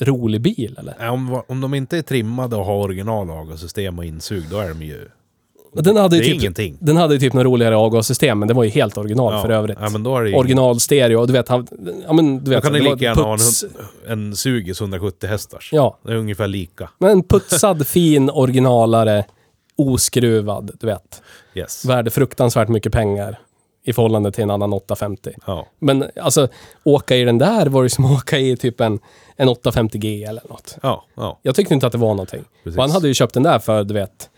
rolig bil eller? Nej, Om, om de inte är trimmade och har original avgassystem och insug, då är de ju... Och Den hade ju Det är typ, ingenting. Den hade ju typ något roligare avgassystem, men det var ju helt original för övrigt. Ja, men då är det ju... original stereo, och du vet, han, ja men du Då vet. kan det ni var lika gärna ha en, puts- en Sugis 170 hästars. Ja, Det är ungefär lika. men en putsad, <laughs> fin, originalare, oskruvad, du vet. Yes. Värde fruktansvärt mycket pengar i förhållande till en annan 850. Ja. Men alltså, åka i den där var ju som att åka i typ en, en 850G eller något. Ja, ja. Jag tyckte inte att det var någonting. Precis. Och han hade ju köpt den där för, du vet,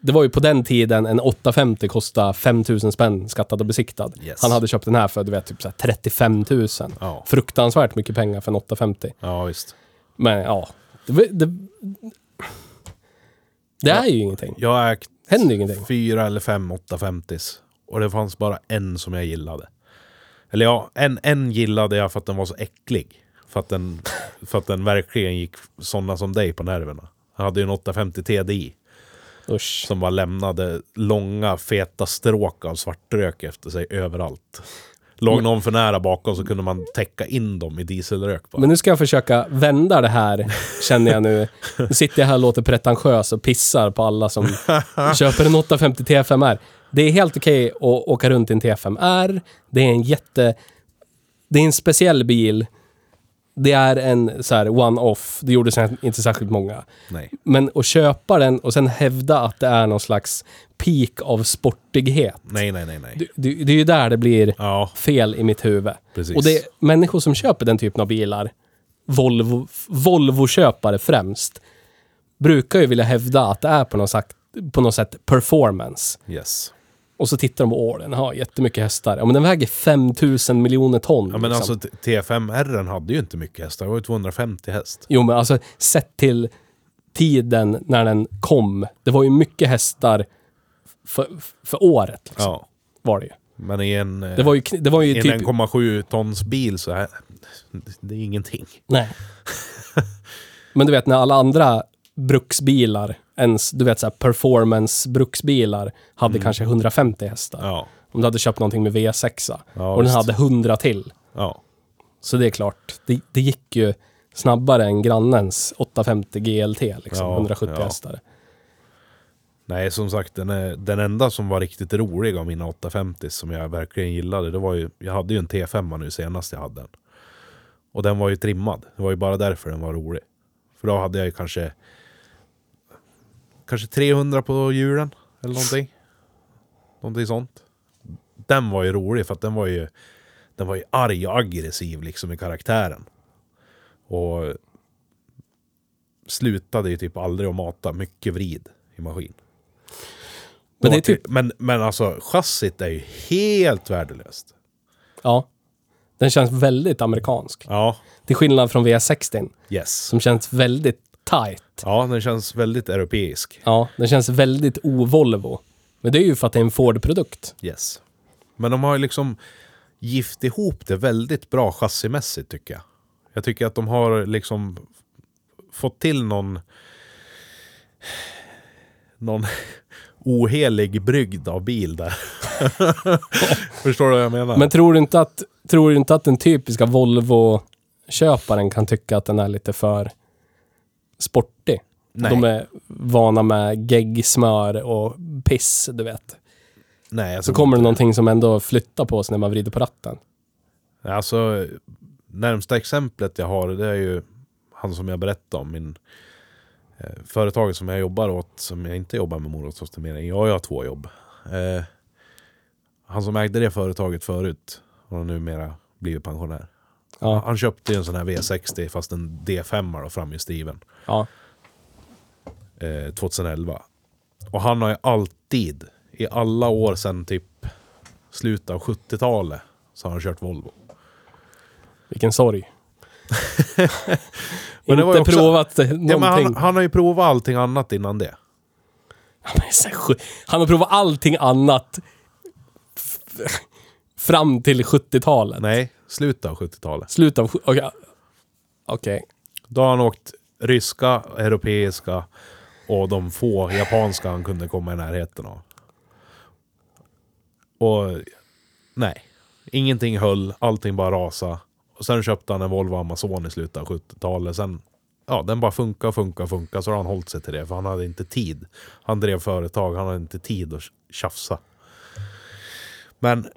det var ju på den tiden en 850 kostade 5 000 spänn skattad och besiktad. Yes. Han hade köpt den här för, du vet, typ så här 35 000. Ja, Fruktansvärt mycket pengar för en 850. ja visst. Men ja, det, det, det är ju ingenting. Jag har ägt Händer ju ingenting. fyra eller fem 850s. Och det fanns bara en som jag gillade. Eller ja, en, en gillade jag för att den var så äcklig. För att den, för att den verkligen gick sådana som dig på nerverna. Jag hade ju en 850 TDI Usch. som bara lämnade långa feta stråk av svartrök efter sig överallt. Låg någon för nära bakom så kunde man täcka in dem i dieselrök bara. Men nu ska jag försöka vända det här, känner jag nu. Nu sitter jag här och låter pretentiös och pissar på alla som köper en 850 T5R. Det är helt okej att åka runt i en T5R. Det är en jätte... Det är en speciell bil. Det är en så här one-off. Det gjorde sen inte särskilt många. Nej. Men att köpa den och sen hävda att det är någon slags peak av sportighet. Nej, nej, nej, nej. Det, det, det är ju där det blir Ja, fel i mitt huvud. Precis. Och det är människor som köper den typen av bilar, Volvo, Volvo-köpare främst, brukar ju vilja hävda att det är på något, sagt, på något sätt performance. yes. Och så tittar de på, åh den har jättemycket hästar. Ja men den väger 5000 miljoner ton. liksom. Ja, men alltså t- T5R hade ju inte mycket hästar, det var ju 250 häst. Jo men alltså sett till tiden när den kom, det var ju mycket hästar för, för året. Liksom, Ja. Var det ju. Men i en, eh, Det var ju, kn- det var ju i en typ... 1,7 tons bil så är det är ingenting. Nej. Men du vet när alla andra bruksbilar, ens, du vet så här performance-bruksbilar, hade kanske 150 hästar. Mm. Ja, Om du hade köpt någonting med V6 Ja, och visst. den hade 100 till. ja, Så det är klart, det, det gick ju snabbare än grannens 850 GLT, liksom, Ja, 170 ja. hästar. nej som sagt den, är, den enda som var riktigt rolig av mina 850 som jag verkligen gillade, det var ju, jag hade ju en T5 nu senast jag hade den. Och den var ju trimmad, det var ju bara därför den var rolig. För då hade jag ju kanske, kanske 300 på hjulen eller någonting. Någonting sånt. Den var ju rolig för att den var ju, den var ju arg och aggressiv liksom i karaktären. Och slutade ju typ aldrig att mata, mycket vrid i maskin. Men det är Vart ju- typ, men, men alltså chassit är ju helt värdelöst. ja. Den känns väldigt amerikansk. Ja, Till skillnad från V60, yes. som känns väldigt tight. Ja, den känns väldigt europeisk. Ja, den känns väldigt o-Volvo. Men det är ju för att det är en Ford-produkt. Yes. Men de har ju liksom gift ihop det väldigt bra chassimässigt tycker jag. Jag tycker att de har liksom fått till någon någon ohelig brygd av bil där. <laughs> Förstår du vad jag menar? Men tror du inte att, tror du inte att den typiska Volvo-köparen kan tycka att den är lite för sportig? nej, De är vana med gegg, smör och piss, du vet. nej, alltså, Så kommer det någonting som ändå flyttar på sig när man vrider på ratten. Alltså, närmsta exemplet jag har det är ju han som jag berättade om. Min, eh, företaget som jag jobbar åt, som jag inte jobbar med morotsoptimering. Jag har två jobb. Eh, han som ägde det företaget förut och har numera blivit pensionär. Ja, Han köpte ju en sån här V60 fast en D5 då, framhjulsdriven ja, eh, 2011. Och han har ju alltid, i alla år sedan typ slutet av 70-talet, så har han kört Volvo. vilken sorg. <laughs> Men det var ju inte också- provat Ja, men någonting. han, han har ju provat allting annat innan det. Han är så sjuk. Han har provat allting annat f- fram till 70-talet. Nej, slutet av 70-talet. Slutet av... sju- Okej. Okej. Då har han åkt ryska, europeiska och de få japanska han kunde komma i närheten av. Och nej, ingenting höll, allting bara rasa. Och sen köpte han en Volvo Amazon i slutet av 70-talet. Sen, ja, den bara funkar, funkar, funkar. Så har han hållit sig till det, för han hade inte tid. Han drev företag, han hade inte tid att tjafsa. Men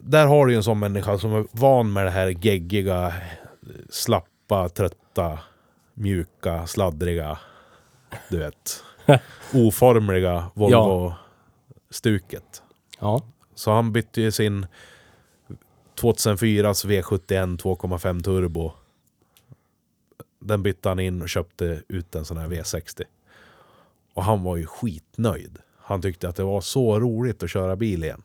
där har du ju en sån människa som är van med det här geggiga, slappa, trötta, mjuka, sladdriga, du vet, oformliga Volvo-stuket. Ja. Så han bytte ju sin 2004 V71 2,5 turbo. Den bytte han in och köpte ut en sån här V60. Och han var ju skitnöjd. Han tyckte att det var så roligt att köra bil igen.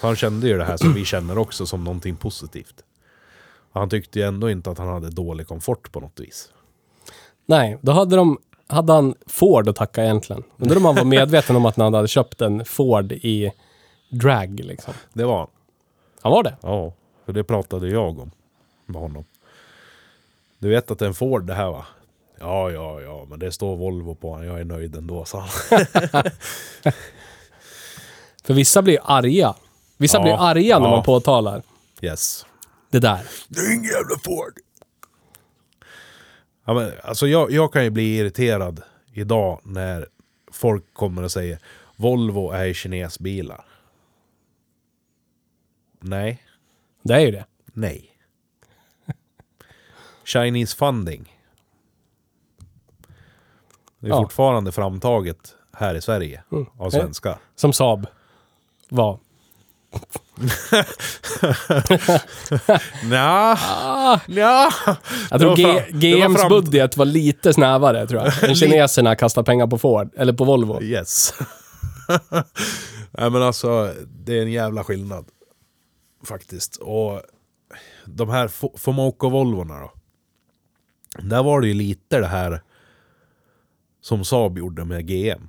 Han kände ju det här som vi känner också som någonting positivt. Och Han tyckte ju ändå inte att han hade dålig komfort på något vis. Nej, då hade de hade han Ford att tacka egentligen. Undrar om han var medveten om att han hade köpt en Ford i drag liksom. Det var han. Han var det. Ja, för det pratade jag om med honom. Du vet att det är en Ford det här va? Ja, ja, ja, men det står Volvo på den. Jag är nöjd ändå, sa han. <laughs> För vissa blir arga. Vissa Ja. blir arga när Ja. man påtalar Yes. det där. Det är ingen jävla Ford! Ja, men, alltså jag, jag kan ju bli irriterad idag när folk kommer och säger Volvo är kinesbilar. Nej, Det är ju det. nej. Chinese funding. Det är Ja. fortfarande framtaget här i Sverige av svenskar. Som Saab var. Nja, nja. Jag tror Det var G- fram- det var GMs fram- budget var lite snävare tror <laughs> jag. Än kineserna kastar pengar på Ford, eller på Volvo. Yes. <laughs> Nej men alltså, det är en jävla skillnad. Faktiskt. Och de här Fo- Fomoco-Volvorna då. Där var det ju lite det här som Saab gjorde med GM.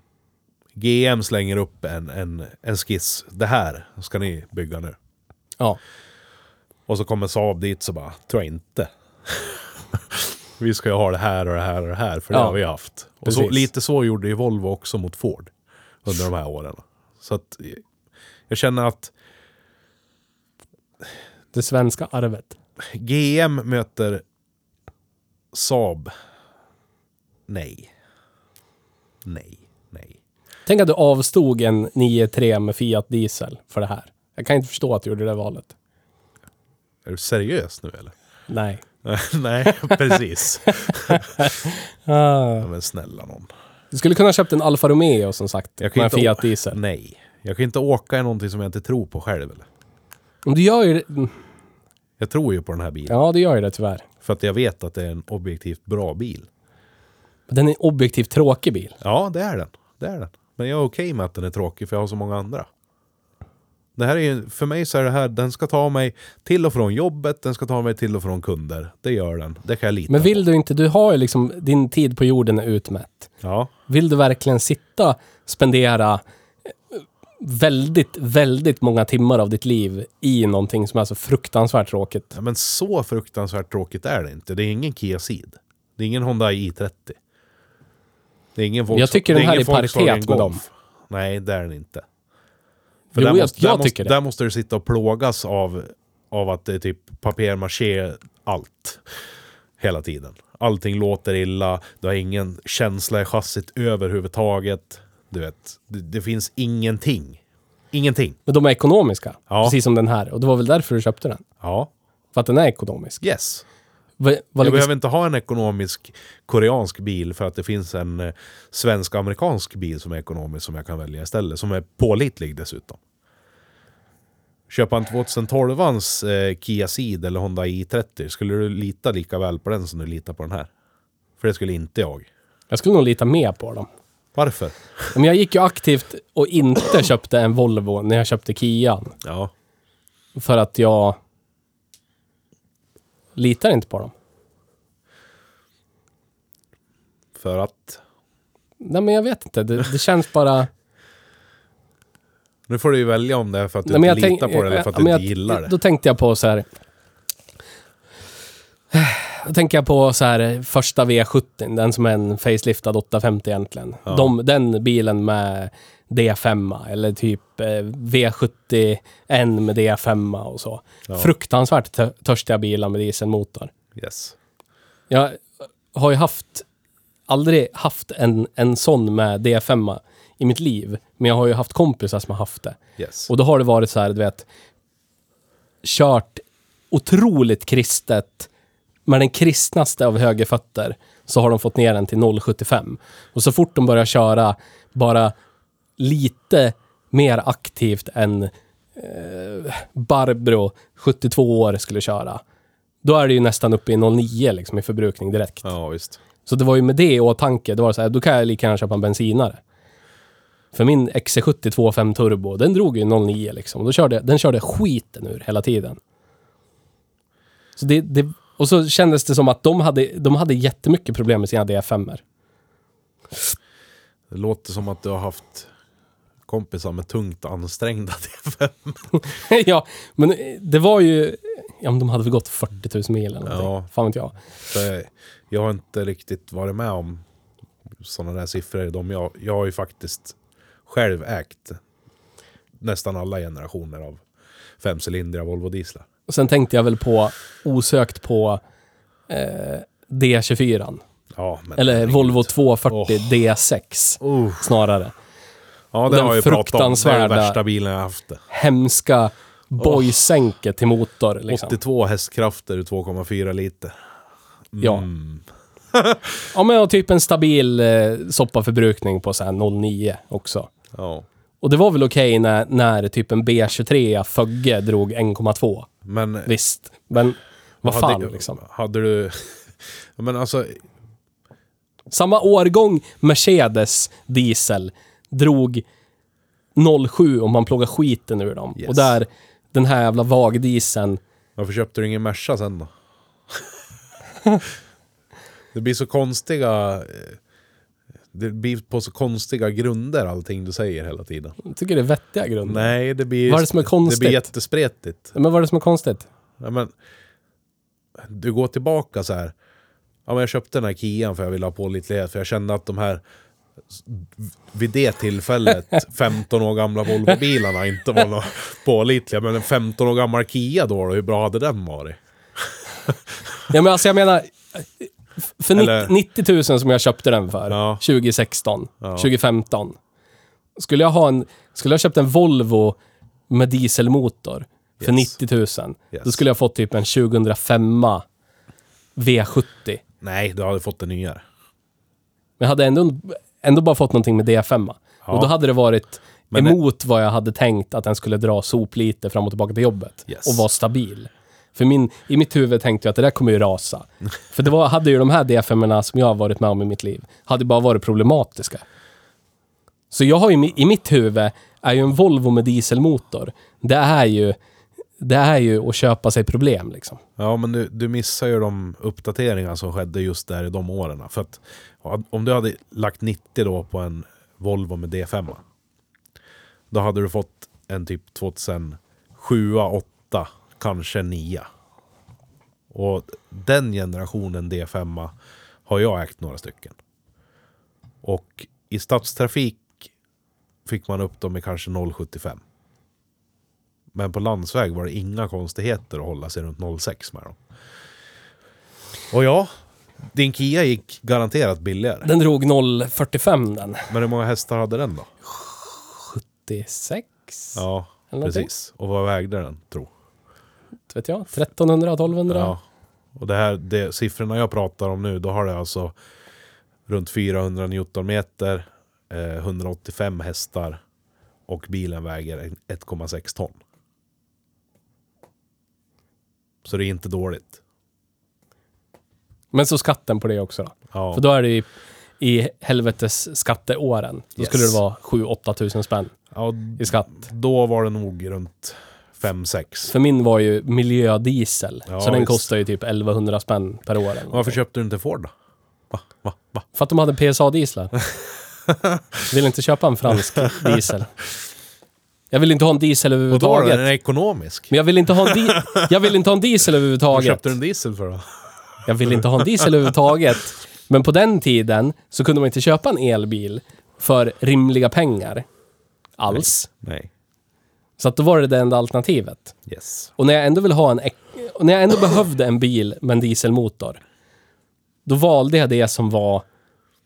GM slänger upp en, en, en skiss. Det här ska ni bygga nu. Ja. Och så kommer Saab dit så bara, tror jag inte. <laughs> vi ska ju ha det här och det här och det här, för det Ja. har vi haft. Och så, Precis. lite så gjorde ju Volvo också mot Ford under de här åren. Så att eh, jag känner att Det svenska arvet. GM möter Saab. Nej. Nej, nej. Tänk att du avstod en 9-3 med Fiat Diesel för det här. Jag kan inte förstå att du gjorde det valet. Är du seriös nu eller? <laughs> Nej. nej, <laughs> precis. Ah. Ja, men snälla någon. Du skulle kunna ha köpt en Alfa Romeo som sagt, Jag med kan en inte å- Fiat Diesel. Nej. Jag kan inte åka i någonting som jag inte tror på själv. Eller? Men du gör ju det. Jag tror ju på den här bilen. Ja, du gör ju det tyvärr. För att jag vet att det är en objektivt bra bil. Men Den är en objektivt tråkig bil. Ja, det är den. Det är den. Men jag är okej med att den är tråkig för jag har så många andra. Det här är ju, för mig så är det här, den ska ta mig till och från jobbet, den ska ta mig till och från kunder. Det gör den. Det kan jag lita Men på. vill du inte, du har ju liksom, din tid på jorden är utmätt. Ja, Vill du verkligen sitta, spendera eh, väldigt, väldigt många timmar av ditt liv i någonting som är så fruktansvärt tråkigt? Ja, men så fruktansvärt tråkigt är det inte. Det är ingen Kia Ceed. Det är ingen Honda i30. Det är ingen Volkswagen Jag tycker det den här ingen är i paritet Volkswagen med Golf. dem. Nej, det är den inte. För Jo, där jag, måste, där jag måste, tycker Där det. måste du sitta och plågas av, av att det är typ papier-maché allt. Hela tiden. Allting låter illa, du har ingen känsla i chassit överhuvudtaget. Du vet, det, det finns ingenting. Ingenting. Men de är ekonomiska, Ja. precis som den här. Och det var väl därför du köpte den? Ja, För att den är ekonomisk. yes. Vad, vad Jag ligger- behöver inte ha en ekonomisk koreansk bil för att det finns en eh, svensk-amerikansk bil som är ekonomisk som jag kan välja istället. Som är pålitlig dessutom. Köpa en 2012ans eh, Kia Ceed eller Honda i30, skulle du lita lika väl på den som du litar på den här? För det skulle inte jag. Jag skulle nog lita mer på dem. Varför? Men jag gick ju aktivt och inte köpte en Volvo när jag köpte Kian. Ja, För att jag litar inte på dem. för att... Nej, men jag vet inte. Det, det känns bara... Nu får du ju välja om det är för att <laughs> du Nej, men jag inte litar tänk- på det eller för att ja, men du jag- inte gillar det. Då tänkte jag på så här. Då tänker jag på så här, eh, första V70, den som är en faceliftad 850 egentligen. Ja. De, den bilen med D5, eller typ eh, V70 N med D5 och så. Ja. Fruktansvärt tö- törstiga bilar med dieselmotor. Yes. Jag har ju haft, aldrig haft en, en sån med D5 i mitt liv. Men jag har ju haft kompisar som har haft det. Yes. Och då har det varit så här, du vet, kört otroligt kristet, med den kristnaste av högerfötter, så har de fått ner den till 0,75. Och så fort de börjar köra bara lite mer aktivt än eh, Barbro, 72 år, skulle köra, då är det ju nästan uppe i 0,9 liksom, i förbrukning direkt. Ja, visst. Så det var ju med det i åtanke, det var så här, då kan jag lika gärna köpa en bensinare. För min XC70 2.5 turbo, den drog ju 0,9 liksom. Då körde, den körde skiten ur hela tiden. Så det, det, och så kändes det som att de hade, de hade jättemycket problem med sina D5-er. Det låter som att du har haft kompisar med tungt ansträngda <laughs> D5. <laughs> ja, men det var ju... Ja, men de hade väl gått 40 000 mil eller någonting. Ja. Fan vet jag. Det- Jag har inte riktigt varit med om sådana där siffror. De jag, jag har ju faktiskt själv ägt nästan alla generationer av femcylindriga Volvo dieslar. Och sen tänkte jag väl på, osökt på eh, D24. Ja, men Eller Volvo 240 Åh. D6 Oh. snarare. Ja, det Den har jag ju pratat om. Det är den fruktansvärda- värsta bilen jag haft. det. hemska bojsänke till motor. Liksom. 82 hästkrafter ur 2,4 liter. Ja. mm. <laughs> ja, men och typ en stabil eh, soppaförbrukning på så här 0,9 också. Ja. Och det var väl okej när, när typ en B23 Fögge drog 1,2. Men Visst, men vad fan hade, liksom. Hade du... <laughs> Men alltså, Samma årgång Mercedes diesel drog 0,7 om man plågar skiten ur dem. Yes. Och där, den här jävla vagdieseln varför köpte du ingen Merca sen då? <laughs> det blir så konstiga... eh, Det blir på så konstiga grunder allting du säger hela tiden. jag tycker det är vettiga grunder. Nej, det blir... Mm. Vad är det som är konstigt? Det blir jättespretigt. Men vad är det som är konstigt? Ja, men, du går tillbaka så här. Ja, men jag köpte den här Kian för jag ville ha pålitlighet. För jag kände att de här s- vid det <laughs> tillfället 15 år gamla Volvo-bilarna inte var några pålitliga. Men en 15 år gammal Kia då, då hur bra hade den varit? Ja, men alltså jag menar... För Eller- 90 000 som jag köpte den för, Ja. 2016, 2015. Skulle jag, ha en, skulle jag köpt en Volvo med dieselmotor för Yes. 90 000, då Yes. skulle jag fått typ en 2005 V70. Men Nej, du hade fått en nyare. jag hade ändå, ändå bara fått någonting med D5. Och då hade det varit Men det- emot vad jag hade tänkt att den skulle dra sop lite fram och tillbaka till jobbet. Yes. Och vara stabil. För min, i mitt huvud tänkte jag att det där kommer <laughs> ju rasa. För det var, hade ju de här DFM-erna som jag har varit med om i mitt liv, hade bara varit problematiska. Så jag har ju, mi- i mitt huvud, är ju en Volvo med dieselmotor, det är ju, det är ju att köpa sig problem liksom. Ja, men du, du missar ju de uppdateringar som skedde just där i de åren. För att ja, om du hade lagt 90 då på en Volvo med D5. Då hade du fått en typ 2007, 8, kanske 9. Och den generationen D5 har jag ägt några stycken. Och i stadstrafik fick man upp dem i kanske 0,75. Men på landsväg var det inga konstigheter att hålla sig runt 0,6 med dem. Och ja, din Kia gick garanterat billigare. Den drog 0,45 den. Men hur många hästar hade den då? 76? Ja, Eller någonting. precis. Och vad vägde den, tro? Vet jag? 1300, 1200? Ja. Och det här, det, siffrorna jag pratar om nu, då har det alltså runt 400 newtonmeter, eh, 185 hästar och bilen väger 1,6 ton. Så det är inte dåligt. Men så skatten på det också då. Ja. För då är det ju i helvetes skatteåren. Då Yes. skulle det vara 7-8 tusen spänn Ja, i skatt. då var det nog runt 5-6. För min var ju miljödiesel. Ja, så den visst. kostar ju typ 1100 spänn per år. Eller Varför någonting. köpte du inte Ford då? Va? Va? Va? För att de hade PSA-dieslar. <laughs> Vill inte köpa en fransk diesel. Jag vill inte ha en diesel Och då var överhuvudtaget. den ekonomisk. <laughs> Men jag vill inte ha en, di- jag vill inte ha en diesel Vad överhuvudtaget. köpte du en diesel för då? Jag vill inte ha en diesel överhuvudtaget. Men på den tiden så kunde man inte köpa en elbil för rimliga pengar. Alls. Nej. Så att då var det det enda alternativet. Yes. Och när jag ändå vill ha en... ek- Och när jag ändå behövde en bil med en dieselmotor. Då valde jag det som var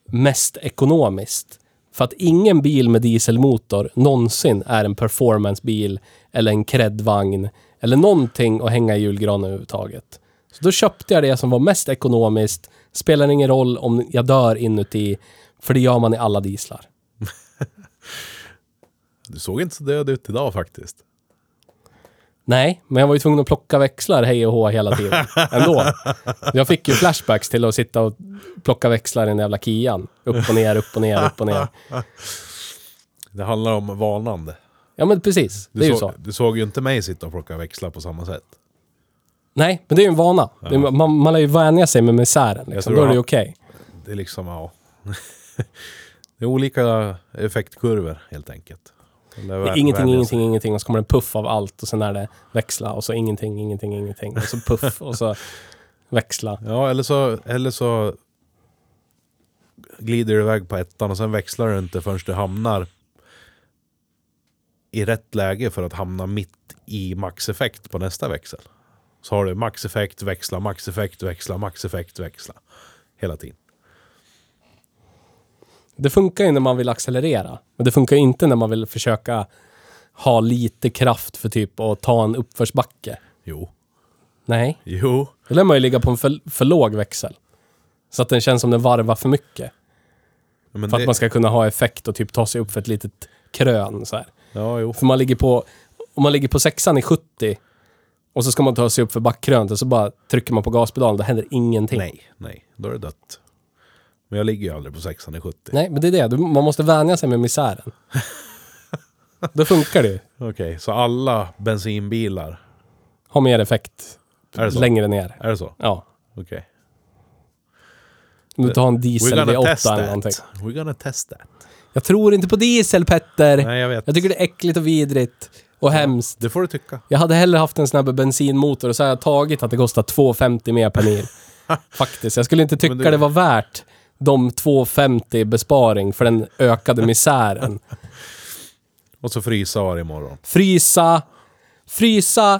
mest ekonomiskt. För att ingen bil med dieselmotor någonsin är en performancebil eller en kredvagn eller någonting att hänga i julgranen överhuvudtaget. Så då köpte jag det som var mest ekonomiskt. Spelar ingen roll om jag dör inuti, för det gör man i alla dieslar. Du såg inte så död ut idag faktiskt. Nej, men jag var ju tvungen att plocka växlar hej och hå hela <laughs> tiden. Ändå. Jag fick ju flashbacks till att sitta och plocka växlar i den jävla kian. Upp och ner, upp och ner, upp och ner. Det handlar om vanande. Ja, men precis. Du, Det är ju såg, så. du såg ju inte mig sitta och plocka växlar på samma sätt. Nej, men det är ju en vana. Det är- Man, man lär ju vänja sig med misären. Liksom. tror Då är det ju han- okej. Det är liksom, ja. <laughs> det är olika effektkurvor helt enkelt. Eller Det är vä- ingenting, vänja ingenting, sig. ingenting. Och så kommer det en puff av allt och sen är det växla och så ingenting, ingenting, ingenting. Och så puff och så växla. Ja, eller så, eller så glider du iväg på ettan och sen växlar du inte förrän du hamnar i rätt läge för att hamna mitt i maxeffekt på nästa växel. Så har du maxeffekt, växla, maxeffekt, växla, maxeffekt, växla. Hela tiden. Det funkar ju när man vill accelerera. Men det funkar ju inte när man vill försöka ha lite kraft för typ att ta en uppförsbacke. Jo. Nej, Jo. då lär man ju ligga på en för, för låg växel. Så att den känns som den varvar för mycket. Ja, Men För det- att man ska kunna ha effekt och typ ta sig upp för ett litet krön så här. Ja, jo. För man ligger på, om man ligger på sexan i 70 och så ska man ta sig upp för backkrönet och så bara trycker man på gaspedalen, då händer ingenting. Nej, nej. Då är det dött. Men jag ligger ju aldrig på sexan i 70. Nej, men det är det. Du- Man måste vänja sig <laughs> med misären. då funkar det ju. Okej, så alla bensinbilar. Ha mer effekt Är det så? längre ner. Är det så? Ja. Okej. Om du tar en We're diesel gonna test V8 eller någonting. that. We're gonna test that. Jag tror inte på diesel, Petter. Nej, jag vet. Jag tycker det är äckligt och vidrigt och hemskt. Det får du tycka. Jag hade hellre haft en snabb bensinmotor och så hade jag tagit att det kostar 2,50 mer <laughs> per mil. Faktiskt. Jag skulle inte tycka Men du- det var värt de 2,50 besparing för den <laughs> ökade misären. Och så frysa var imorgon. Frysa, frysa,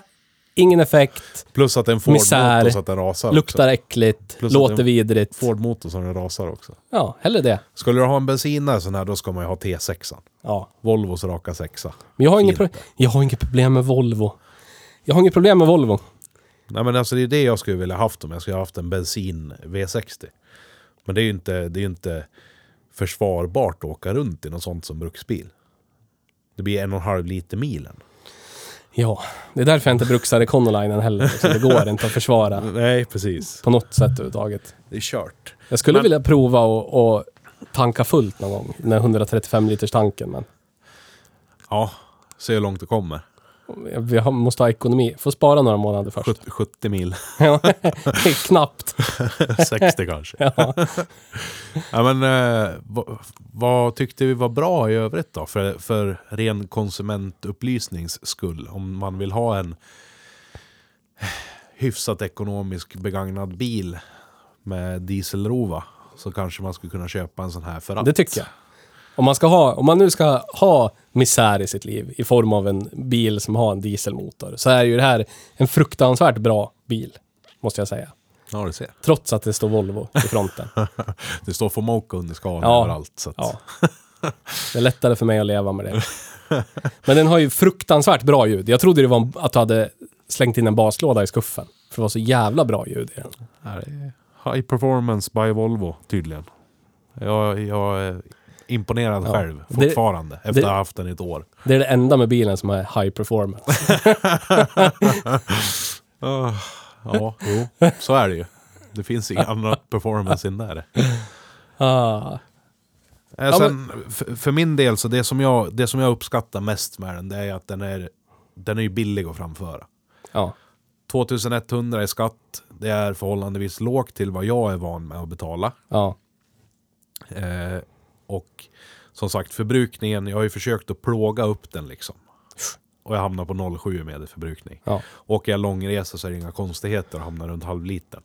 ingen effekt, Plus att en Ford-motor Misär. så att den rasar luktar också. äckligt, Plus att låter den- vidrigt. Ford-motor som den rasar också. Ja, hellre det. Skulle du ha en bensinare sån här, då ska man ju ha T6. Ja. Volvos raka sexa. Men jag har, inget pro- Fint. jag har inget problem med Volvo. Jag har inget problem med Volvo. Nej men alltså det är det jag skulle vilja haft om jag skulle haft en bensin V60. Men det är ju inte, det är ju inte försvarbart att åka runt i något sånt som bruksbil. Det blir en och en halv liter milen. Ja, det är därför jag inte bruksar Econolinen heller. Så det går inte att försvara Nej, precis. på något sätt överhuvudtaget. Det är kört. Jag skulle Men- vilja prova och, och tanka fullt någon gång. Den här 135 liters tanken men Ja, se hur långt det kommer. vi har, måste ha ekonomi. Får spara några månader först. 70, 70 mil. Ja, det är Knappt. 60 <laughs> kanske. Ja. <laughs> Ja, men, eh, vad, vad tyckte vi var bra i övrigt då? För, för ren konsumentupplysnings skull. Om man vill ha en hyfsat ekonomisk begagnad bil med dieselrova så kanske man skulle kunna köpa en sån här för att. Det tycker jag. Om man, ska ha, om man nu ska ha misär i sitt liv i form av en bil som har en dieselmotor så är ju det här en fruktansvärt bra bil. Måste jag säga. Ja, du ser. Trots att det står Volvo i fronten. Det står Fomoco under skalan Ja. överallt. Så att, Ja. <laughs> Det är lättare för mig att leva med <laughs> det. Men den har ju fruktansvärt bra ljud. Jag trodde det var en- att du hade slängt in en baslåda i skuffen. För det var så jävla bra ljud i den. här är High performance by Volvo tydligen. Jag, jag är imponerad Ja. själv Det- fortfarande efter att det- ha haft den i ett år. Det är det enda med bilen som är high performance. Ah, ja, jo, så är det ju. Det finns inga andra performance än där. <laughs> Ah, Eh, Sen, f- för min del, så det som, jag, det som jag uppskattar mest med den, det är att den är, den är ju billig att framföra. ja. 2100 i skatt, det är förhållandevis lågt till vad jag är van med att betala. ja. Eh, och som sagt, förbrukningen, jag har ju försökt att plåga upp den liksom. Och jag hamnar på 0,7 medelförbrukning. Ja. Åker jag långresa så är det inga konstigheter att hamna runt halvlitern.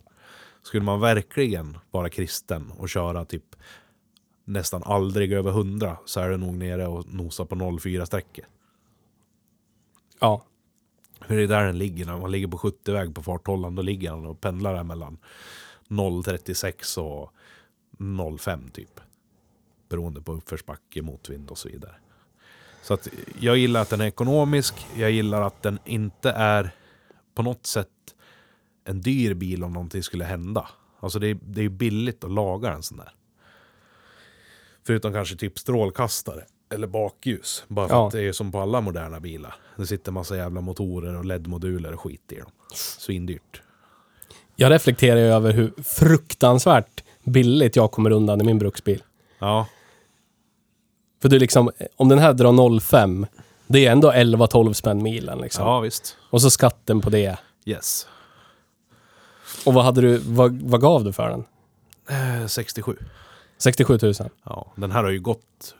Skulle man verkligen vara kristen och köra typ nästan aldrig över 100 så är det nog nere och nosar på 04-strecket. Ja. För det är där den ligger. När man ligger på 70-väg på farthållaren då ligger den och pendlar där mellan 0,36 och 0,5 typ. Beroende på uppförsbacke, motvind och så vidare. Så att jag gillar att den är ekonomisk. Jag gillar att den inte är på något sätt en dyr bil om någonting skulle hända. Alltså det är, det är billigt att laga en sån där. Förutom kanske typ strålkastare eller bakljus. Bara för Ja. att det är som på alla moderna bilar. Det sitter massa jävla motorer och LED-moduler och skit i dem. Svindyrt. Jag reflekterar ju över hur fruktansvärt billigt jag kommer undan i min bruksbil. Ja, För du liksom, om den här drar 05, det är ändå 11-12 spänn milen liksom. ja visst. Och så skatten på det. Yes. Och vad hade du, vad, vad gav du för den? Eh, 67. 67 000. Ja, den här har ju gått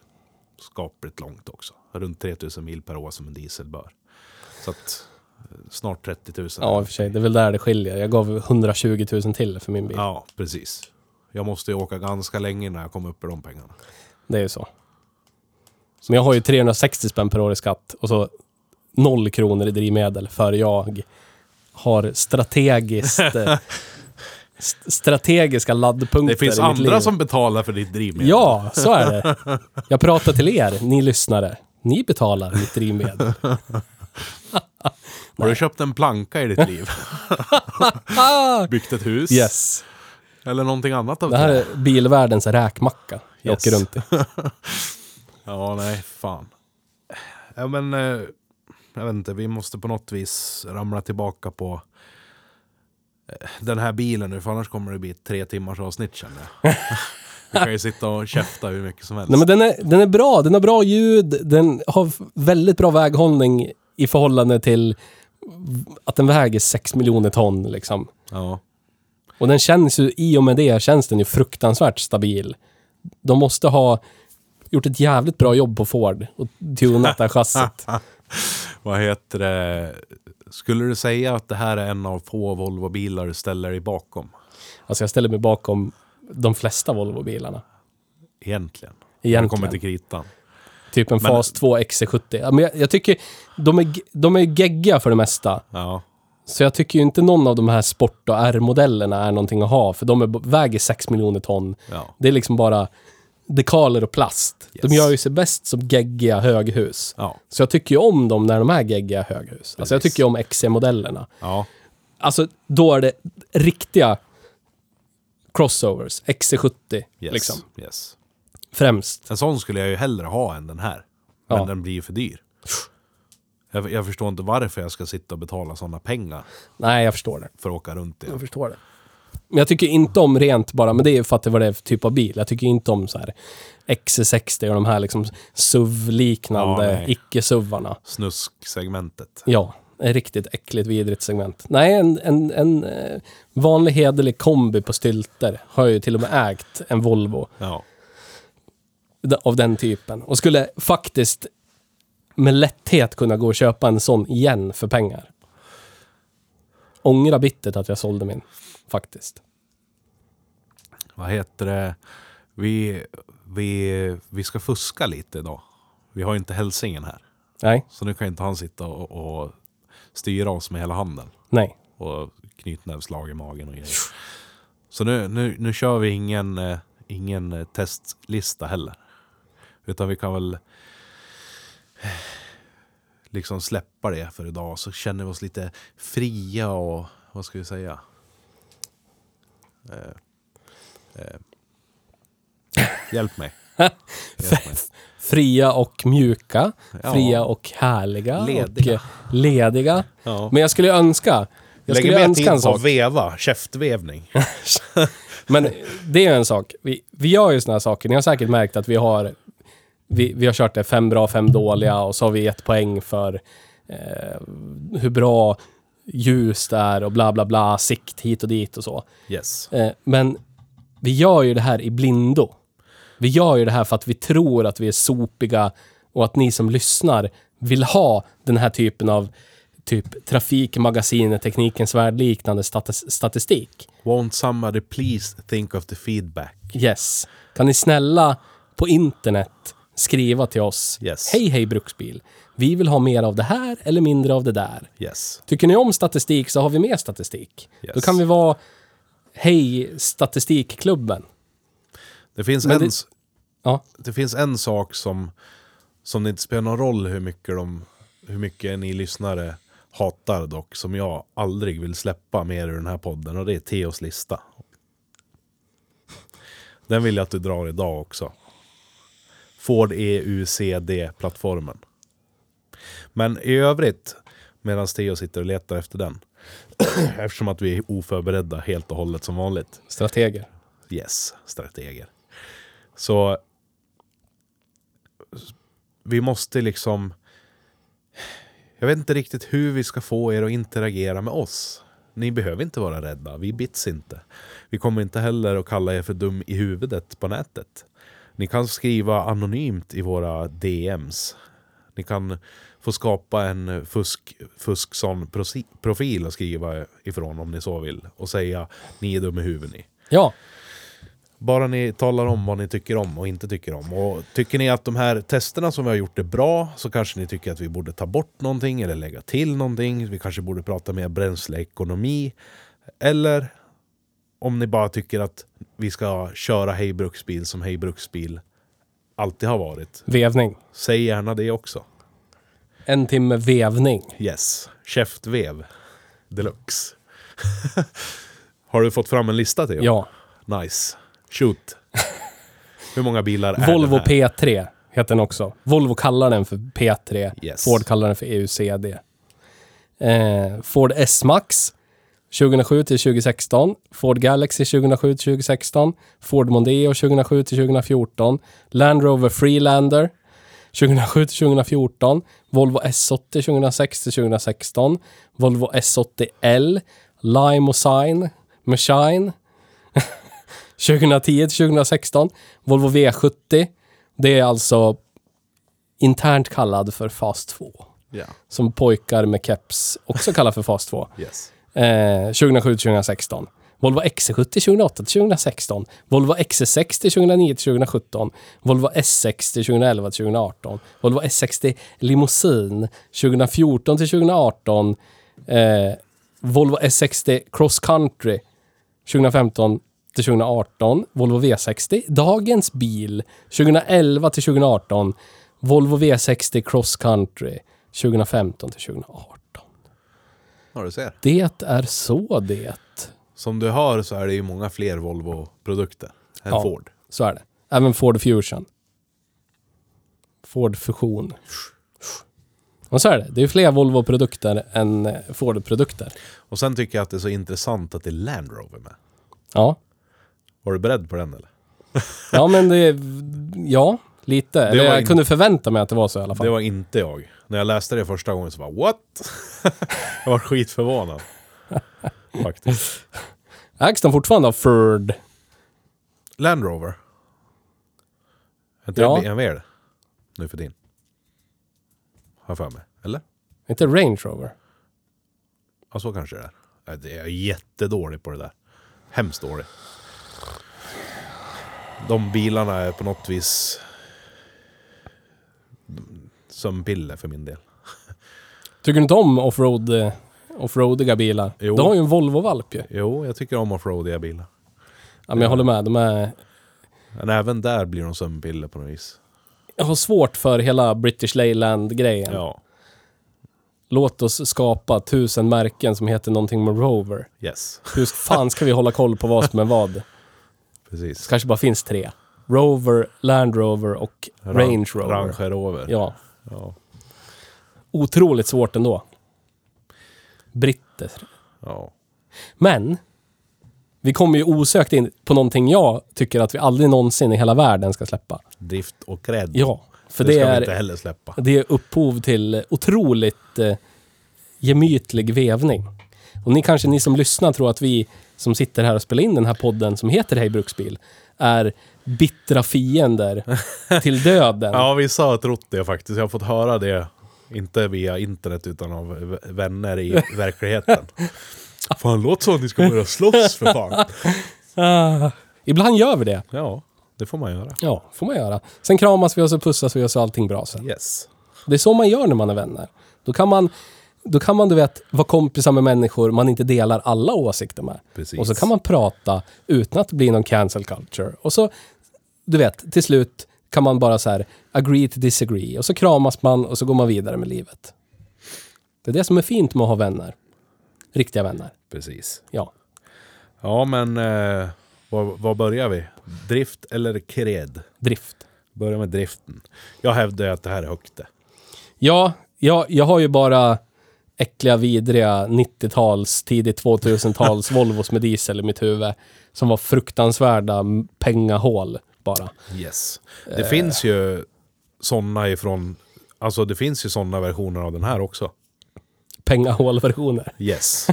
skapligt långt också. Runt 3000 mil per år som en diesel bör. Så att eh, snart 30 000. Ja, i och för sig. Det är väl där det skiljer. Jag gav 120 000 till för min bil. ja precis. Jag måste ju åka ganska länge när jag kommer upp i de pengarna. Det är ju så. Men jag har ju 360 spänn per år i skatt och så noll kronor i drivmedel för jag har <laughs> strategiskt, eh, st- strategiska laddpunkter Det finns i mitt liv. andra som betalar för ditt drivmedel. Ja, så är det. Jag pratar till er, ni lyssnare. Ni betalar <laughs> mitt drivmedel. Har du köpt en planka i <laughs> ditt liv? Ah! Byggt ett hus? Yes. Eller någonting annat av Det det? här är bilvärldens räkmacka jag Yes. åker runt i. Ja, nej, fan. Ja, men eh, jag vet inte, vi måste på något vis ramla tillbaka på eh, den här bilen nu, för annars kommer det bli ett tre timmars avsnitt känner <laughs> jag. Vi kan ju sitta och käfta hur mycket som helst. Nej, men den, är, den är bra, den har bra ljud, den har f- väldigt bra väghållning i förhållande till v- att den väger 6 miljoner ton. Liksom. Ja, Och den känns ju, i och med det känns den ju fruktansvärt stabil. De måste ha gjort ett jävligt bra jobb på Ford och <laughs> tunat det här chassit. vad heter det? Skulle du säga att det här är en av få Volvo-bilar du ställer dig bakom? Alltså jag ställer mig bakom de flesta Volvo-bilarna. Egentligen. När det kommer Egentligen. till kritan. Typ en Men- Fas 2 XC70. Ja, Men jag, jag tycker, de är, g- de är ju geggiga för det mesta. Ja, Så jag tycker ju inte någon av de här sport och R-modellerna är någonting att ha, för de är, väger 6 miljoner ton. ja, Det är liksom bara dekaler och plast. Yes. De gör ju sig bäst som geggiga höghus. ja, Så jag tycker ju om dem när de är geggiga höghus. Alltså jag Precis. tycker ju om XC-modellerna. ja. Alltså då är det riktiga crossovers, XC70 Yes, liksom. yes. Främst. En sån skulle jag ju hellre ha än den här. Men Ja. den blir ju för dyr. Jag, jag förstår inte varför jag ska sitta och betala sådana pengar Nej, jag förstår det. för att åka runt i. Jag förstår det. Men jag tycker inte om rent bara, men det är ju för att det var det för typ av bil. Jag tycker inte om så här XC60 och de här liksom Ja, SUV-liknande nej. icke-SUVarna. Snusksegmentet. Ja, ett riktigt äckligt, vidrigt segment. Nej, en, en, en eh, vanlig hederlig kombi på stylter har jag ju till och med ägt en Volvo Ja. d- av den typen. Och skulle faktiskt med lätthet kunna gå och köpa en sån igen för pengar. Ångra bittert att jag sålde min, faktiskt. Vad heter det? Vi, vi, vi ska fuska lite idag. Vi har ju inte hälsingen här. Nej, Så nu kan inte han sitta och, och styra oss med hela handen. nej. Och knytnävsslag i magen och grejer. Så nu, nu, nu kör vi ingen, eh, ingen eh, testlista heller. Utan vi kan väl eh, liksom släppa det för idag. Så känner vi oss lite fria och vad ska vi säga? Eh, eh, hjälp mig. Hjälp mig. Fria och mjuka. Ja. Fria och härliga. Lediga. Och eh, lediga. Ja. Men jag skulle önska... Jag Lägger skulle mer önska en tid på sak. veva, <laughs> käftvevning. Men det är en sak. Vi, vi gör ju såna här saker. Ni har säkert märkt att vi har... Vi, vi har kört det fem bra, fem dåliga och så har vi gett poäng för eh, hur bra ljus det är och bla bla bla, sikt hit och dit och så. Yes. Eh, men vi gör ju det här i blindo. Vi gör ju det här för att vi tror att vi är sopiga och att ni som lyssnar vill ha den här typen av typ Trafikmagasinet, Teknikens Värld-liknande statis- statistik. Won't somebody please think of the feedback? Yes. Kan ni snälla på internet skriva till oss. Yes. Hej hej Bruksbil. Vi vill ha mer av det här eller mindre av det där. Yes. Tycker ni om statistik så har vi mer statistik. Yes. Då kan vi vara Hej statistikklubben. Det finns, Men en, det- s- Ja, det finns en sak som, som det inte spelar någon roll hur mycket, de, hur mycket ni lyssnare hatar dock, som jag aldrig vill släppa mer ur den här podden och det är Theos lista. Den vill jag att du drar idag också. Ford E EUCD-plattformen. Men i övrigt, medan Theo sitter och letar efter den, <clears throat> eftersom att vi är oförberedda helt och hållet som vanligt, strateger. Yes, strateger. Så vi måste liksom... Jag vet inte riktigt hur vi ska få er att interagera med oss. Ni behöver inte vara rädda, vi bits inte. Vi kommer inte heller att kalla er för dum i huvudet på nätet. Ni kan skriva anonymt i våra DMs. Ni kan få skapa en fusk, fuskson-profil och skriva ifrån om ni så vill. Och säga ni är dum i huvudet ni. Ja, Bara ni talar om vad ni tycker om och inte tycker om. Och tycker ni att de här testerna som vi har gjort är bra så kanske ni tycker att vi borde ta bort någonting eller lägga till någonting. Vi kanske borde prata mer bränsleekonomi. Eller om ni bara tycker att vi ska köra Hej Bruksbil som Hej Bruksbil alltid har varit. vevning. Säg gärna det också. En timme vevning. Yes. Käftvev. Deluxe. <laughs> har du fått fram en lista till? Ja. Nice. <laughs> Shoot. Hur många bilar är Volvo den här? P3 heter den också. Volvo kallar den för P3. Yes. Ford kallar den för E EUCD. Eh, Ford S-Max 2007 till 2016. Ford Galaxy 2007 till 2016. Ford Mondeo 2007 till 2014. Land Rover Freelander 2007 till 2014. Volvo S80 2006 till 2016. Volvo S80L. Limousine. Machine 2010 till 2016. Volvo V70. Det är alltså internt kallad för Fast 2. Ja. Som pojkar med keps också kallar för Fast 2. Yes. Eh, 2007 till 2016. Volvo XC70 2008 till 2016. Volvo XC60 2009 till 2017. Volvo S60 2011 till 2018. Volvo S60 Limousin 2014 till 2018. Eh, Volvo S60 Cross Country 2015 till 2018. Volvo V60 Dagens bil 2011 till 2018. Volvo V60 Cross Country 2015 till 2018. Ja, du ser. Det är så det. Som du hör så är det ju många fler Volvo-produkter än Ja. Ford. Så är det. Även Ford Fusion. Ford Fusion. Och så är det. Det är fler Volvo-produkter än eh, Ford-produkter. Och sen tycker jag att det är så intressant att det är Land Rover med. Ja. Var du beredd på den eller? ja, men det... är- Ja, lite. Eller var jag in- kunde förvänta mig att det var så i alla fall. Det var inte jag. När jag läste det första gången så bara what? <laughs> jag var <laughs> skitförvånad. Faktiskt. Ägs den fortfarande av Ford? Land Rover. Är inte Ja. det BMW det? Nu för din. Har jag för mig. Eller? Inte Range Rover? Ja, så kanske det är. Ja, det- Jag är jättedålig på det där. Hemskt dålig. De bilarna är på något vis som piller för min del. Tycker du inte om offroad, eh, offroadiga bilar? Jo. Du har ju en Volvo-valp ju. Jo, jag tycker om offroadiga bilar. Ja, men jag håller med. De är... Men även där blir de sömnpiller på något vis. Jag har svårt för hela British Leyland-grejen. Ja. Låt oss skapa tusen märken som heter någonting med Rover. Yes. Hur fan ska vi hålla koll på vad som är vad? Det Precis. kanske bara finns tre. Rover, Land Rover och Range Rover. Range Rover. Ja. Ja. Otroligt svårt ändå. Britter. ja. Men, vi kommer ju osökt in på någonting jag tycker att vi aldrig någonsin i hela världen ska släppa. Drift och cred. Ja, för det, det, ska vi är, inte heller släppa. det är upphov till otroligt eh, gemytlig vevning. Och ni kanske, ni som lyssnar, tror att vi som sitter här och spelar in den här podden som heter Hej Bruksbil är bittra fiender till döden. Ja, vissa har trott det faktiskt. Jag har fått höra det Inte via internet utan av v- vänner <laughs> i verkligheten. Fan, låt som att ni ska börja slåss för fan. Ah, ibland gör vi det. Ja, det får man göra. Ja, får man göra. Sen kramas vi och så pussas vi och så är allting bra sen. Yes. Det är så man gör när man är vänner. Då kan man, då kan man du vet, vara kompisar med människor man inte delar alla åsikter med. Precis. Och så kan man prata utan att det blir någon cancel culture. Och så, du vet, till slut kan man bara så här agree to disagree. Och så kramas man och så går man vidare med livet. Det är det som är fint med att ha vänner. Riktiga vänner. Precis. Ja. Ja, men eh, vad, vad börjar vi? Drift eller kred? Drift. Börja med driften. Jag hävdar ju att det här är högt det. Ja, jag, jag har ju bara äckliga, vidriga 90-tals, <laughs> tidigt 2000-tals Volvos med diesel i mitt huvud. Som var fruktansvärda m- pengahål bara. Yes. Eh. Det finns ju sådana ifrån... Alltså det finns ju sådana versioner av den här också. Pengahålversioner. Yes.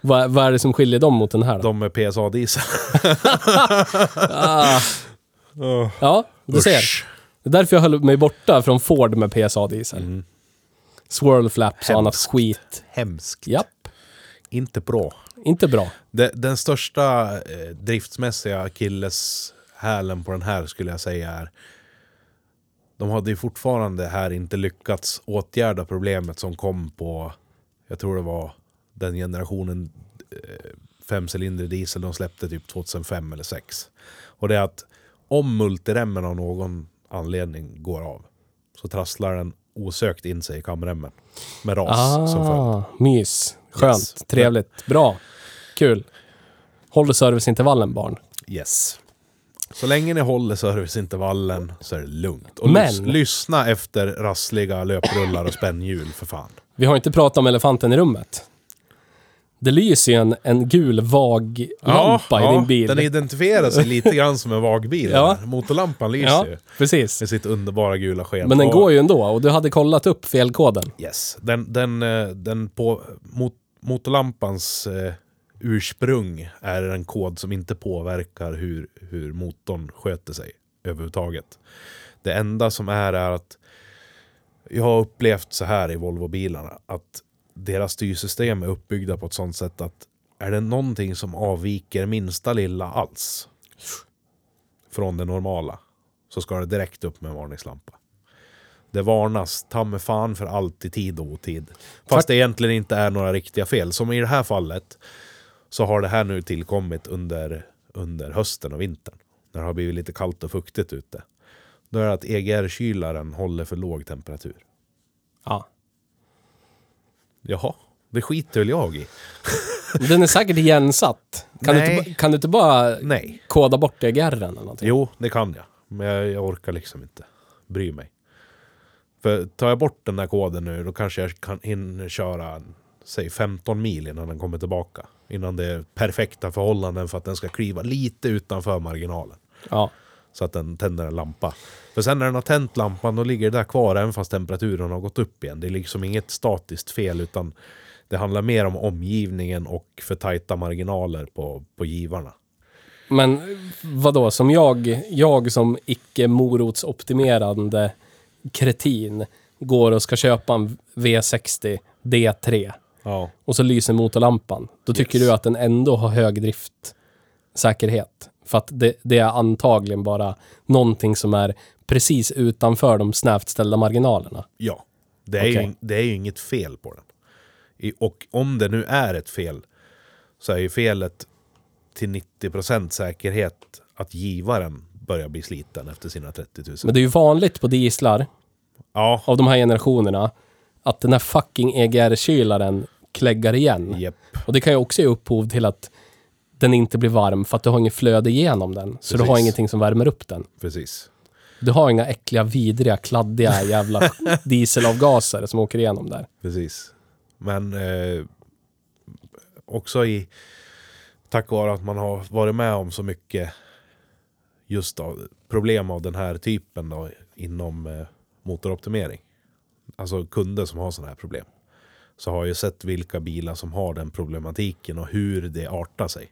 Vad, vad är det som skiljer dem mot den här då? De med PSA-diesel. Ja, du ser. Usch. Det är därför jag höll mig borta från Ford med PSA-diesel. Swirl flaps och annat Mm. Hemskt. skit. Hemskt. Japp, Inte bra. inte bra. De, den största eh, driftsmässiga akilleshälen på den här skulle jag säga är de hade ju fortfarande här inte lyckats åtgärda problemet som kom på, jag tror det var den generationen eh, femcylindrig diesel de släppte typ 2005 eller 2006. Och det är att om multiremmen av någon anledning går av så trasslar den osökt in sig i kamremmen med ras som följd. Ah, mys. Skönt, Yes. trevligt, bra, kul. Håller serviceintervallen barn. Yes. Så länge ni håller serviceintervallen så är det lugnt. Och Men- lys- lyssna efter rassliga löprullar och spännhjul för fan. Vi har inte pratat om elefanten i rummet. Det lyser ju en, en gul vag lampa i din bil. Den identifierar sig lite grann som en vagbil. Ja. där. Motorlampan lyser ja, ju. precis. Med sitt underbara gula sken. Men den går ju ändå och du hade kollat upp felkoden. Yes. Den, den, eh, den på mot, motorlampans eh, ursprung är en kod som inte påverkar hur, hur motorn sköter sig överhuvudtaget. Det enda som är är att jag har upplevt så här i Volvo-bilarna att deras styrsystem är uppbyggda på ett sånt sätt att är det någonting som avviker minsta lilla alls från det normala så ska det direkt upp med en varningslampa. Det varnas ta mig fan för allt i tid och otid. Fast det egentligen inte är några riktiga fel. Som i det här fallet så har det här nu tillkommit under, under hösten och vintern. När det har blivit lite kallt och fuktigt ute. Då är det att EGR-kylaren håller för låg temperatur. Ja. Jaha, det skiter väl jag i? Den är säkert igensatt. Kan, du Nej. inte, ba- kan du inte bara Nej. koda bort det i garren eller någonting? Jo, det kan jag. Men jag, jag orkar liksom inte bry mig. För tar jag bort den där koden nu, då kanske jag kan hinner köra säg 15 mil innan den kommer tillbaka. Innan det är perfekta förhållanden för att den ska kliva lite utanför marginalen. Ja. Så att den tänder en lampa. För sen när den har tänt lampan, då ligger det där kvar även fast temperaturen har gått upp igen. Det är liksom inget statiskt fel utan det handlar mer om omgivningen och för tajta marginaler på, på givarna. Men vadå, som jag, jag som icke morotsoptimerande kretin går och ska köpa en V60 D3 Ja. och så lyser motorlampan. Då tycker Yes. du att den ändå har hög driftsäkerhet. För att det, det är antagligen bara någonting som är precis utanför de snävt ställda marginalerna. Ja. Det är, ju, Okej. det är ju inget fel på den. I, och om det nu är ett fel så är ju felet till 90% säkerhet att givaren börjar bli sliten efter sina 30 000. Men det är ju vanligt på dieslar ja, av de här generationerna att den här fucking EGR-kylaren kläggar igen. japp. Och det kan ju också ge upphov till att den inte blir varm för att du har inget flöde igenom den. Så du har Precis. ingenting som värmer upp den. Precis. Du har inga äckliga, vidriga, <laughs> kladdiga jävla dieselavgaser som åker igenom där. Precis. Men eh, också i tack vare att man har varit med om så mycket just av, problem av den här typen då, inom eh, motoroptimering. Alltså kunder som har sådana här problem. Så har jag ju sett vilka bilar som har den problematiken och hur det artar sig.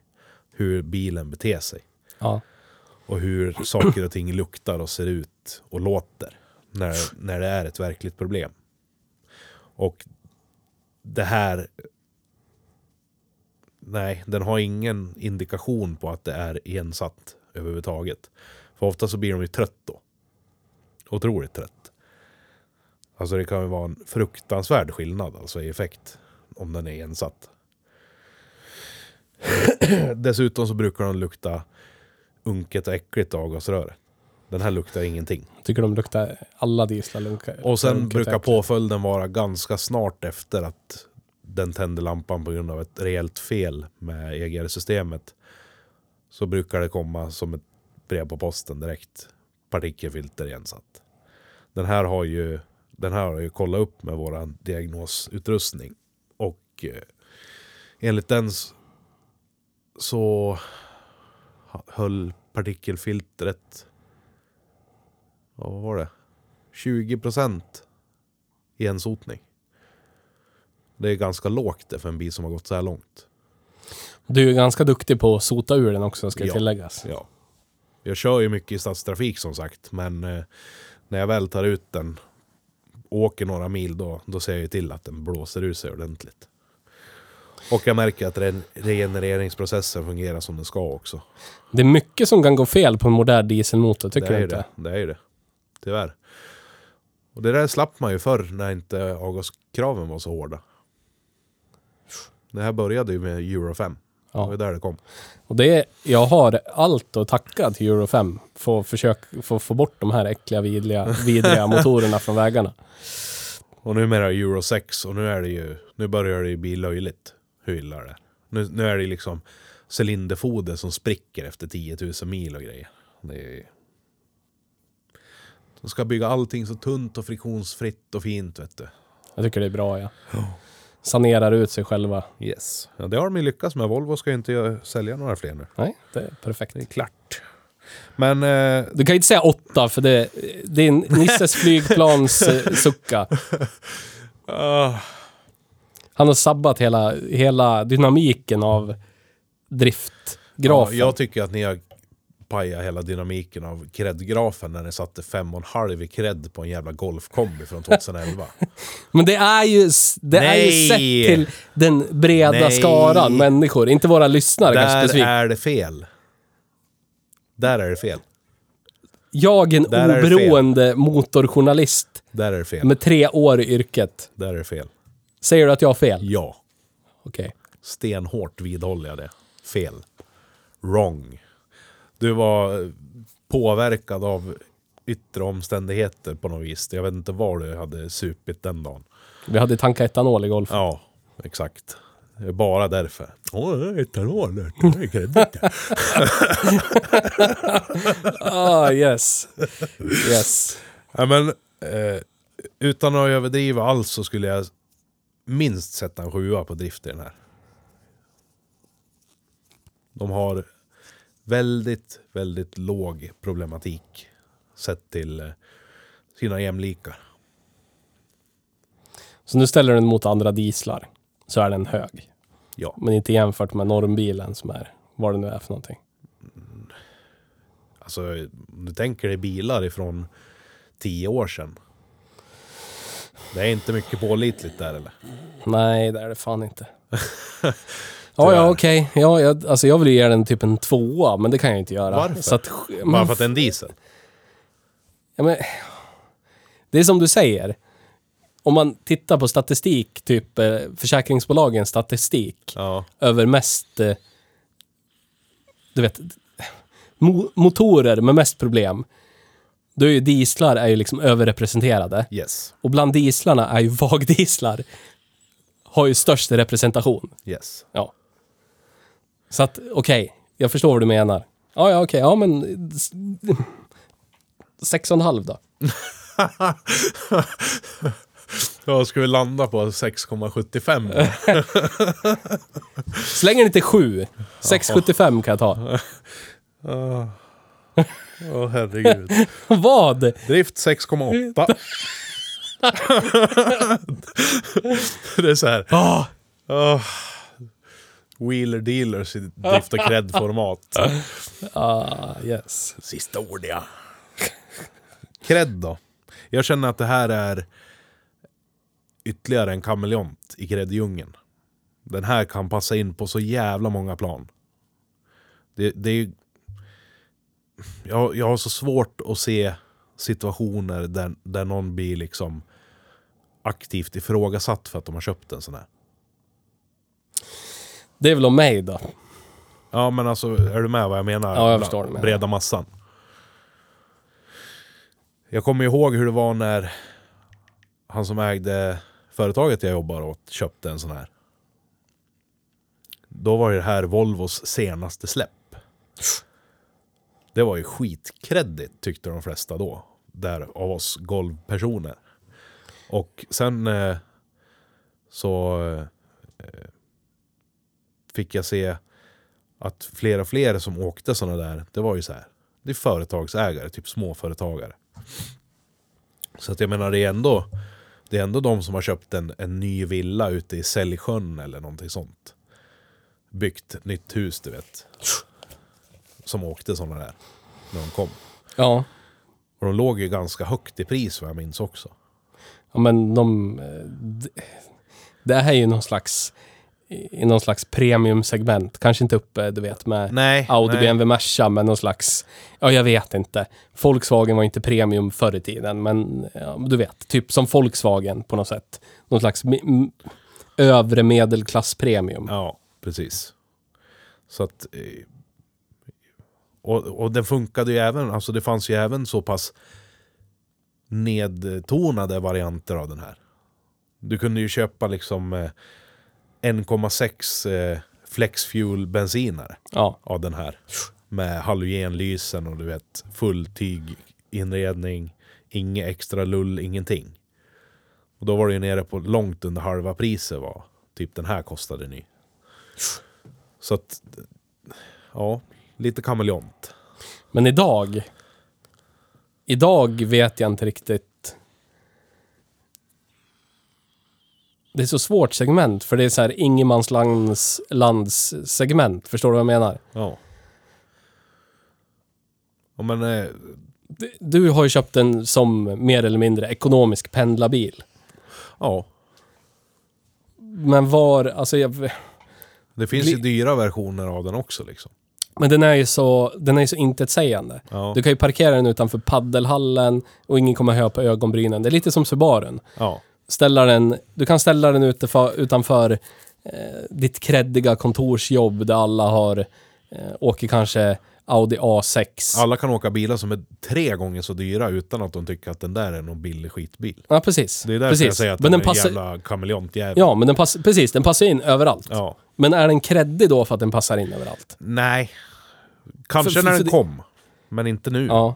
Hur bilen beter sig. Ja. Och hur saker och ting luktar och ser ut och låter. När, när det är ett verkligt problem. Och det här... Nej, den har ingen indikation på att det är ensatt överhuvudtaget. För ofta så blir de ju trött då. Otroligt trött. Alltså det kan ju vara en fruktansvärd skillnad alltså i effekt om den är ensatt. <clears throat> Dessutom så brukar de lukta unket och äckligt avgasrör. Den här luktar ingenting. Tycker de luktar alla dieslar lunka. Och sen brukar påföljden vara ganska snart efter att den tänder lampan på grund av ett rejält fel med EGR-systemet. Så brukar det komma som ett brev på posten direkt. Partikelfilter igensatt. Den här har ju, den här har ju kollat upp med våran diagnosutrustning. Och eh, enligt den s- så höll partikelfiltret ja, vad var det? 20 procent i en sotning. Det är ganska lågt det för en bil som har gått så här långt. Du är ganska duktig på att sota ur den också, ska Ja. tilläggas. Ja. Jag kör ju mycket i stadstrafik som sagt, men eh, när jag väl tar ut den och åker några mil då, då ser jag ju till att den blåser ur sig ordentligt. Och jag märker att re- regenereringsprocessen fungerar som den ska också. Det är mycket som kan gå fel på en modern dieselmotor, tycker det är ju du inte? Det. det är ju det. Tyvärr. Och det där slapp man ju förr när inte avgaskraven var så hårda. Det här började ju med Euro 5. Ja. Det var där det kom. Och det är, jag har allt att tacka till Euro 5 för att försöka få, få bort de här <laughs> äckliga, vidriga, vidriga motorerna från vägarna. Och numera är det Euro 6 och nu är det ju, nu börjar det ju bli löjligt hur illa det är. Nu, nu är det liksom cylinderfoder som spricker efter 10 000 mil och grejer. Det är... De ska bygga allting så tunt och friktionsfritt och fint vet du. Jag tycker det är bra, ja. Sanerar ut sig själva. Yes. Ja, det har de ju lyckats med. Volvo ska ju inte gö- sälja några fler nu. Nej, det är perfekt. Det är klart. Men eh, Du kan ju inte säga åtta, för det, det är <laughs> Nisses flygplans eh, sucka. Ah, Han har sabbat hela, hela dynamiken av driftgrafen. jag tycker att ni har pajat hela dynamiken av cred-grafen när ni satte 5,5 i cred på en jävla golfkombi från <laughs> 2011. Men det är ju, s- det är ju Nej. sett till den breda Nej. skaran människor. Inte våra lyssnare kanske Där specifikt. är det fel. Där är det fel. Jag, en där är det oberoende motorjournalist Där är det fel. med tre år i yrket. Där är det fel. Säger du att jag har fel? Ja. Okej. Stenhårt vidhåller jag det. Fel. Wrong. Du var eh, påverkad av yttre omständigheter på något vis. Jag vet inte var du hade supit den dagen. Vi hade tankat etanol i golf. Ja, exakt. Det är Bara därför. Åh, det är etanol. Det är kredit. Ah, yes. Yes. <laughs> ja, men, eh, utan att överdriva alls så skulle jag minst sätta en sjua på drift i den här. De har väldigt, väldigt låg problematik sett till eh, sina jämlikar. Så nu ställer du den mot andra dieslar. Så är den hög. Ja. Men inte jämfört med normbilen som är vad det nu är för någonting. Alltså, om du tänker dig bilar ifrån tio år sedan. Det är inte mycket pålitligt där eller? Nej, det är det fan <laughs> inte. ja, ja, okej. Ja, jag, alltså jag vill ju ge den typ en tvåa, men det kan jag inte göra. Varför? Så att, Bara för att det är en diesel? Ja, men, det är som du säger. Om man tittar på statistik, typ eh, försäkringsbolagens statistik Ja. över mest, eh, du vet, mo motorer med mest problem. Då är ju dieslar är ju liksom överrepresenterade. Yes. Och bland dieslarna är ju <laughs> vagdieslar har ju störst representation. Yes. Ja. Så att, okej. jag förstår vad du menar. Ja, ja, okej. Ja, men... s- Sex och en halv då. Då ska vi landa på <laughs> 6,75. Slänger den till sju. 6,75 kan jag ta. <laughs> Åh Åh, herregud. Vad? Drift <laughs> 6,8. det är så här. Ah, åh. Wheeler dealers i drift och cred-format. Ah, yes. Sista ord ja. Cred då? Jag känner att det här är ytterligare en kameleont i gräddjungeln. Den här kan passa in på så jävla många plan. Det, det är... Jag, jag har så svårt att se situationer där, där någon blir liksom aktivt ifrågasatt för att de har köpt en sån här. Det är väl om mig då. Ja men alltså, är du med vad jag menar? Ja, jag förstår vad du menar. Breda massan. Jag kommer ihåg hur det var när han som ägde företaget jag jobbar åt köpte en sån här. Då var ju det här Volvos senaste släpp. Det var ju skitkreddigt tyckte de flesta då. Där av oss golvpersoner. Och sen eh, så eh, fick jag se att flera och fler som åkte såna där, det var ju så här. Det är företagsägare, typ småföretagare. Så att jag menar, det är ändå, det är ändå de som har köpt en, en ny villa ute i Sällsjön eller någonting sånt. Byggt nytt hus, du vet. Som åkte såna där, när de kom. Ja. Och de låg ju ganska högt i pris vad jag minns också. Ja, men de... eh, d- Det här är ju någon slags... I i någon slags premiumsegment. Kanske inte uppe, du vet, med Nej, Audi, Eh, nej. BMW, Merca, men någon slags... Ja, jag vet inte. Volkswagen var inte premium förr i tiden, men ja, du vet. Typ som Volkswagen på något sätt. Någon slags mi- m- övre medelklass premium. Ja, precis. Så att... eh, Och, och den funkade ju även, alltså det fanns ju även så pass nedtonade varianter av den här. Du kunde ju köpa liksom eh, 1,6 eh, flexfuel bensinare Ja. av den här. Med halogenlysen och du vet full tyginredning. Inget extra lull, ingenting. Och då var det ju nere på långt under halva priset vad typ den här kostade ny. Så att, ja, lite kameleont. Men idag... Idag vet jag inte riktigt. Det är så svårt segment, för det är så här ingenmanslands lands segment. Förstår du vad jag menar? Ja. Ja, men, eh, Du- Du har ju köpt en som mer eller mindre ekonomisk pendlarbil. ja. Men var, alltså jag... Det finns ju dyra versioner av den också liksom. Men den är ju så, den är ju så intetsägande. Ja. Du kan ju parkera den utanför paddelhallen och ingen kommer höja på ögonbrynen. Det är lite som Subaren. Ja. ställa den, du kan ställa den utanför, utanför eh, ditt kreddiga kontorsjobb där alla har, eh, åker kanske Audi A6. Alla kan åka bilar som är tre gånger så dyra utan att de tycker att den där är någon billig skitbil. Ja, precis. Det är därför precis. jag säger att men den, den är passar, en jävla kameleontjävel. Ja, men den passar, precis, den passar in överallt. Ja. Men är den kreddig då för att den passar in överallt? Nej. Kanske För- för- när för den det- kom. Men inte nu. Ja.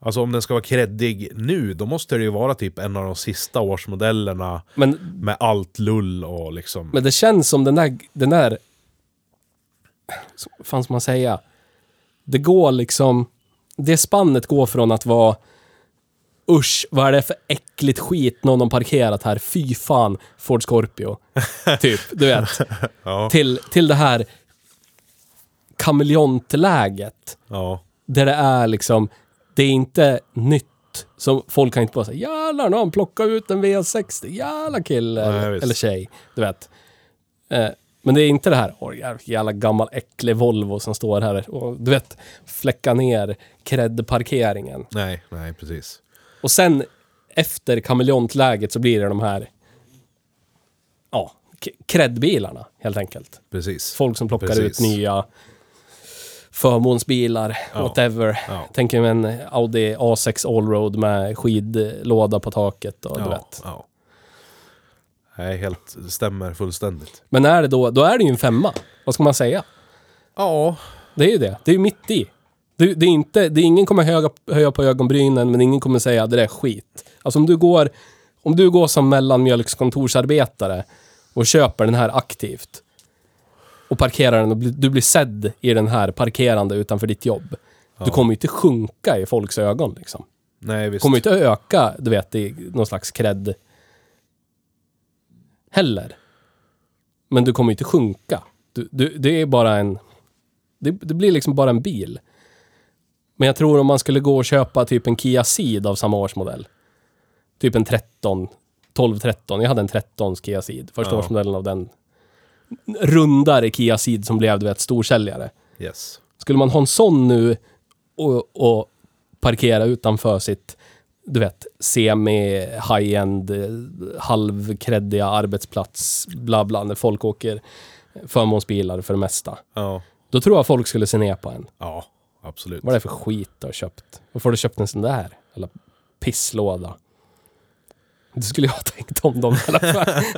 Alltså om den ska vara kreddig nu, då måste det ju vara typ en av de sista årsmodellerna Men, med allt lull och liksom... Mm. men det känns som den där, den där, fan ska man säga? Det går liksom, det spannet går från att vara Usch, vad är det för äckligt skit någon har parkerat här? Fy fan, Ford Scorpio. typ, du vet. Ja. Till, till det här kameleontläget. Ja. Där det är liksom, det är inte nytt. Som folk kan inte bara säga, jävlar, nu har han plockat ut en V60. Jävla kille Nej, visst. eller tjej. Du vet. Eh, men det är inte det här, åh jävla- jävla gammal äcklig Volvo som står här och du vet, fläcka ner kreddparkeringen. Nej, nej precis. Och sen efter kameleontläget så blir det de här ja, k- kreddbilarna helt enkelt. Precis. Folk som plockar Precis. ut nya förmånsbilar, Ja. whatever. Ja. Tänk mig en Audi A6 Allroad med skidlåda på taket och du ja, vet. ja. Nej, helt det stämmer fullständigt. Men är det då, då är det ju en femma. Vad ska man säga? Ja. Det är ju det. Det är ju mitt i. Det, det är inte, det är ingen kommer höja, höja på ögonbrynen, men ingen kommer säga att det där är skit. Alltså om du går, om du går som mellanmjölkskontorsarbetare och köper den här aktivt och parkerar den och bli, du blir sedd i den här parkerande utanför ditt jobb. Du kommer ju inte sjunka i folks ögon liksom. Nej, visst. Du kommer ju inte öka, du vet, i någon slags cred heller. Men du kommer ju inte sjunka. Du, du, det är bara en... Det, det blir liksom bara en bil. Men jag tror om man skulle gå och köpa typ en Kia Ceed av samma årsmodell. Typ en 13, 12, 13. Jag hade en 13 Kia Ceed. Första Ja. årsmodellen av den rundare Kia Ceed som blev, du vet, storsäljare. Yes. Skulle man ha en sån nu och, och parkera utanför sitt, du vet, semi-high-end, eh, halvkreddiga arbetsplats, bla bla, när folk åker förmånsbilar för det mesta. Ja. Då tror jag folk skulle se ner på en. Ja, absolut. Vad är det för skit du har köpt? Varför har du köpt en sån där? Eller pisslåda? Det skulle jag ha tänkt om dem i alla fall. <laughs>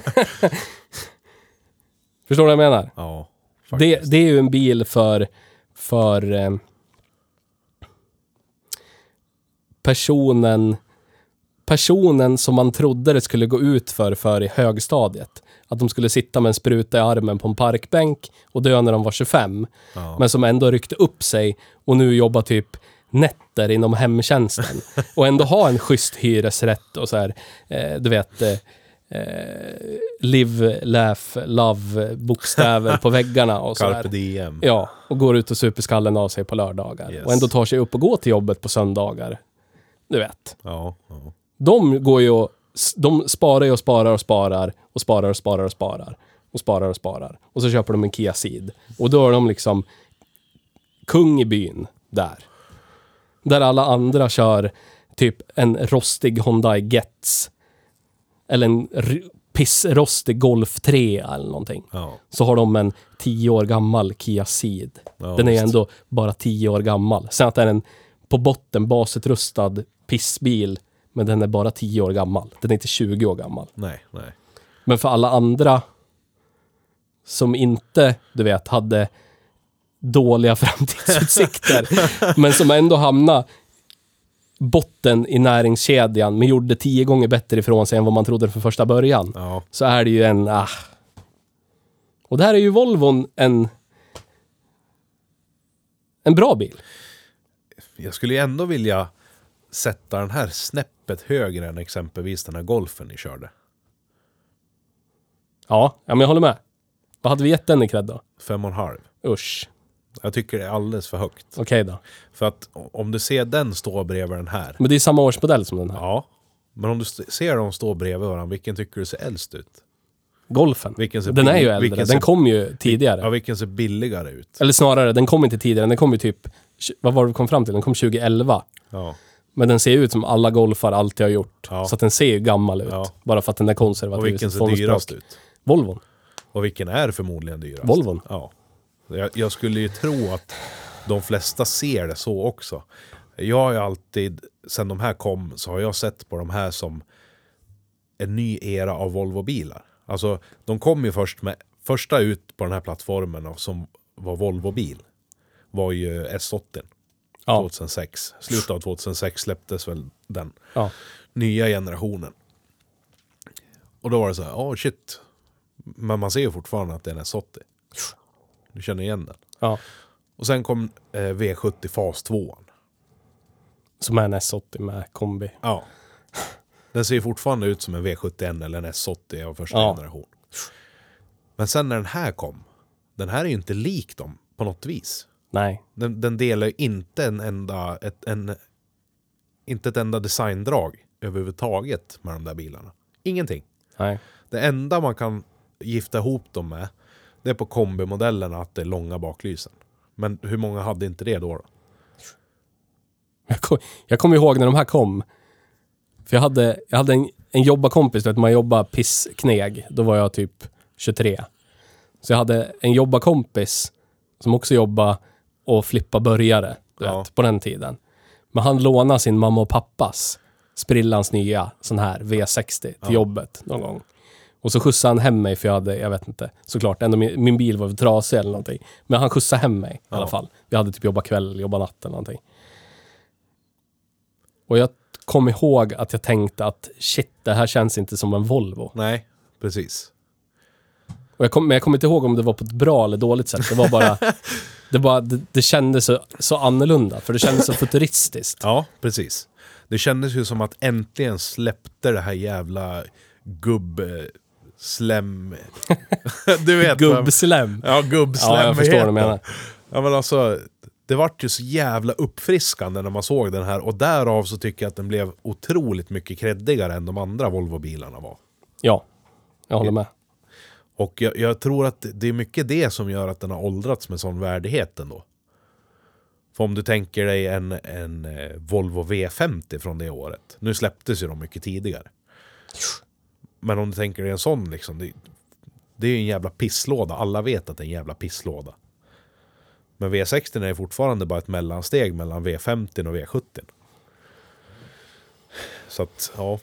Förstår du vad jag menar? Ja, Det, faktiskt. det är ju en bil för, för eh, personen, personen som man trodde det skulle gå ut för, för i högstadiet. Att de skulle sitta med en spruta i armen på en parkbänk och dö när de var 25. Ja. Men som ändå ryckte upp sig och nu jobbar typ nätter inom hemtjänsten. Och ändå ha en schysst hyresrätt och så här, eh, du vet, eh, eh, live, laugh, love-bokstäver på väggarna och Carpe sådär. diem. Ja, och går ut och super skallen av sig på lördagar. Yes. Och ändå tar sig upp och går till jobbet på söndagar. Du vet. Ja, ja. De går ju och, s- de sparar ju och sparar och sparar och sparar och sparar och sparar och sparar och sparar. Och så köper de en Kia Ceed. Och då är de liksom kung i byn där. Där alla andra kör typ en rostig Hyundai Getz. Eller en r- pissrostig Golf 3 eller någonting. ja. Så har de en 10 år gammal Kia Ceed. Ja, Den är ju visst. ändå bara 10 år gammal. Sen att den är en på botten basutrustad pissbil, men den är bara 10 år gammal. Den är inte 20 år gammal. Nej, nej. Men för alla andra som inte, du vet, hade dåliga <laughs> framtidsutsikter, men som ändå hamnade botten i näringskedjan, men gjorde tio gånger bättre ifrån sig än vad man trodde från första början Ja, så är det ju en... Ah. Och där är ju Volvon en... En bra bil. jag skulle ju ändå vilja sätta den här snäppet högre än exempelvis den här golfen ni körde. Ja, ja men jag håller med. Vad hade vi gett den i cred då? Fem och en halv. Usch. Jag tycker det är alldeles för högt. Okej då. För att o- om du ser den stå bredvid den här. Men det är samma årsmodell som den här. Ja. Men om du st- ser dem stå bredvid varandra, vilken tycker du ser äldst ut? Golfen. Vilken ser Den är bil- ju äldre. vilken Den ser- kom ju tidigare. Ja, vilken ser billigare ut? Eller snarare, den kom inte tidigare. Den kom ju typ... tj- Vad var det vi kom fram till? Den kom 2011. Ja. Men den ser ju ut som alla golfar alltid har gjort. Ja. Så att den ser ju gammal ut. Ja. Bara för att den är konservativ. Och vilken ser formspråk. dyrast ut? Volvon. Och vilken är förmodligen dyrast? Volvon. Ja. Jag, jag skulle ju tro att de flesta ser det så också. Jag har ju alltid, sen de här kom, så har jag sett på de här som en ny era av Volvo-bilar. Alltså, de kom ju först med, första ut på den här plattformen och som var Volvo-bil var ju S80 Ja. 2006. Slutet av 2006 släpptes väl den ja. nya generationen. Och då var det så här, ja shit. Men man ser ju fortfarande att det är en S80. Du känner igen den. Ja. Och sen kom eh, V70 fas 2. Som är en S80 med kombi. Ja. Den ser ju fortfarande ut som en V71 eller en S80 av första Ja. generation. Men sen när den här kom, den här är ju inte lik dem på något vis. Nej. Den, den delar ju inte en enda, ett, en, inte ett enda designdrag överhuvudtaget med de där bilarna. Ingenting. Nej. Det enda man kan gifta ihop dem med, det är på kombimodellerna att det är långa baklysen. Men hur många hade inte det då? då? Jag kom- jag kommer ihåg när de här kom. För jag hade, jag hade en, en jobbarkompis, du vet man jobbar pisskneg. Då var jag typ 23. Så jag hade en jobbarkompis som också jobbade och flippa börjare, du Ja. vet, på den tiden. Men han lånade sin mamma och pappas sprillans nya sån här V60 till jobbet någon gång. Och så skjutsade han hem mig för jag hade, jag vet inte, såklart, ändå min, min bil var väl trasig eller någonting. Men han skjutsade hem mig i alla fall. Jag hade typ jobbat kväll, jobbat natt eller någonting. Och jag kom ihåg att jag tänkte att shit, det här känns inte som en Volvo. Nej, precis. Och jag kom, men jag kommer inte ihåg om det var på ett bra eller dåligt sätt. Det var bara... det, bara, det, det kändes så, så annorlunda, för det kändes så futuristiskt. Ja, precis. Det kändes ju som att äntligen släppte det här jävla gubb... eh, Slem... <laughs> du vet vad jag- Gubbslem. Ja, gubbslem. Ja, jag förstår vad du menar. Ja, men alltså, det vart ju så jävla uppfriskande när man såg den här och därav så tycker jag att den blev otroligt mycket kreddigare än de andra Volvo-bilarna var. Ja, jag håller med. Och jag, jag tror att det är mycket det som gör att den har åldrats med sån värdighet ändå. För om du tänker dig en, en eh, Volvo V50 från det året. Nu släpptes ju de mycket tidigare. Men om du tänker dig en sån liksom. Det, det är ju en jävla pisslåda. Alla vet att det är en jävla pisslåda. Men V60 är fortfarande bara ett mellansteg mellan V50 och V70. Så att, ja.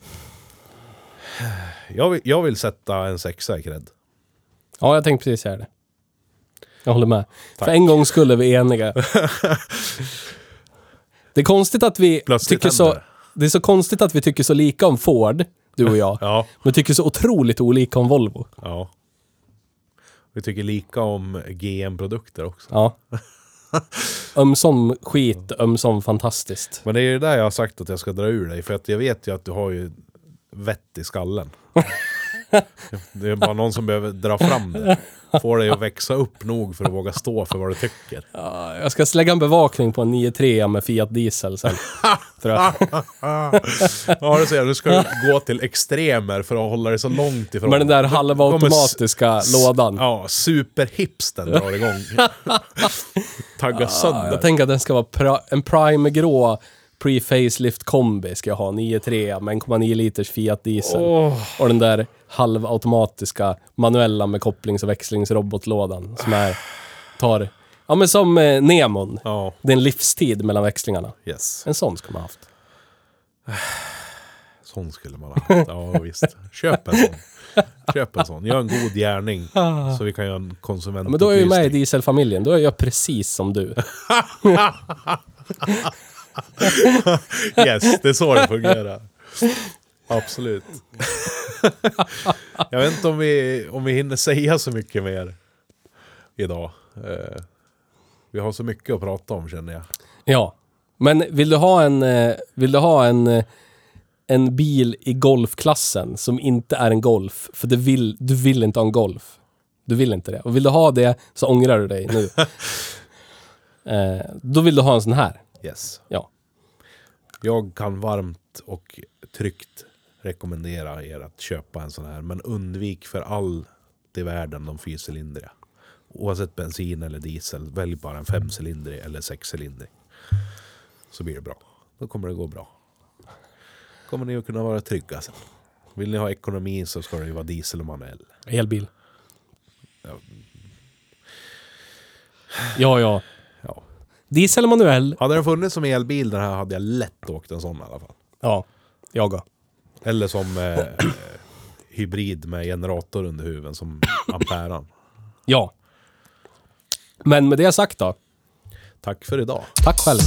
Jag vill, jag vill sätta en sexa i cred. Ja, jag tänkte precis säga det. Jag håller med. Tack. För en gång skulle vi <laughs> är eniga. det är konstigt att vi Plötsligt tycker så... händer Det är så konstigt att vi tycker så lika om Ford, du och jag. <laughs> Ja. Men tycker så otroligt olika om Volvo. Ja. Vi tycker lika om GM-produkter också. Ja. <laughs> ömsom skit, ömsom fantastiskt. Men det är ju det där jag har sagt att jag ska dra ur dig. För att jag vet ju att du har ju vett i skallen. det är bara någon som behöver dra fram det. Få dig att växa upp nog för att våga stå för vad du tycker. Ja, jag ska lägga en bevakning på en 9-3 med Fiat <laughs> Diesel sen. tror jag. Ja, du ser, nu ska du gå till extremer för att hålla dig så långt ifrån. Med den där Du kommer halvautomatiska s- lådan. Ja, superhipsten drar igång. Tagga Ja, sönder. jag tänker att den ska vara pra- en primegrå pre-facelift kombi ska jag ha. 9-3 med 1,9 liters Fiat diesel. Och den där halvautomatiska manuella med kopplings och växlingsrobotlådan som är, tar, ja men som eh, Nemon. Ja, Det är en livstid mellan växlingarna. yes. En sån ska man ha haft. Sån skulle man ha haft. <laughs> Ja visst. Köp en sån. Köp en sån. Gör en god gärning. Så vi kan göra en konsument. Ah. Men då är jag ju med i dieselfamiljen. Då är jag precis som du. Yes, det är så det fungerar. Absolut. Jag vet inte om vi, om vi hinner säga så mycket mer idag. Eh, Vi har så mycket att prata om känner jag. Ja. Men vill du ha en, eh, vill du ha en, eh, en bil i golfklassen som inte är en Golf? För det vill, du vill inte ha en Golf. Du vill inte det. Och vill du ha det så ångrar du dig nu. eh, då vill du ha en sån här. Yes. Ja. Jag kan varmt och tryggt rekommendera er att köpa en sån här. Men undvik för all i världen de fyrcylindriga. Oavsett bensin eller diesel, välj bara en femcylindrig eller sexcylindrig. Så blir det bra. Då kommer det gå bra. kommer ni att kunna vara trygga sen. Vill ni ha ekonomi så ska det ju vara diesel och manuell. Elbil. Ja, ja. Ja. Diesel och manuell. Hade den funnits som elbil den här hade jag lätt åkt en sån i alla fall. Ja. Jag också. Eller som eh, eh, <clears throat> hybrid med generator under huven som <clears throat> amperan. Ja. Men med det sagt då. Tack för idag. Tack själv.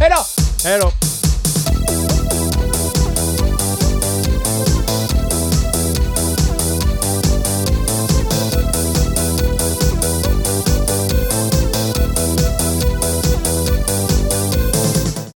Hej då! Hej då!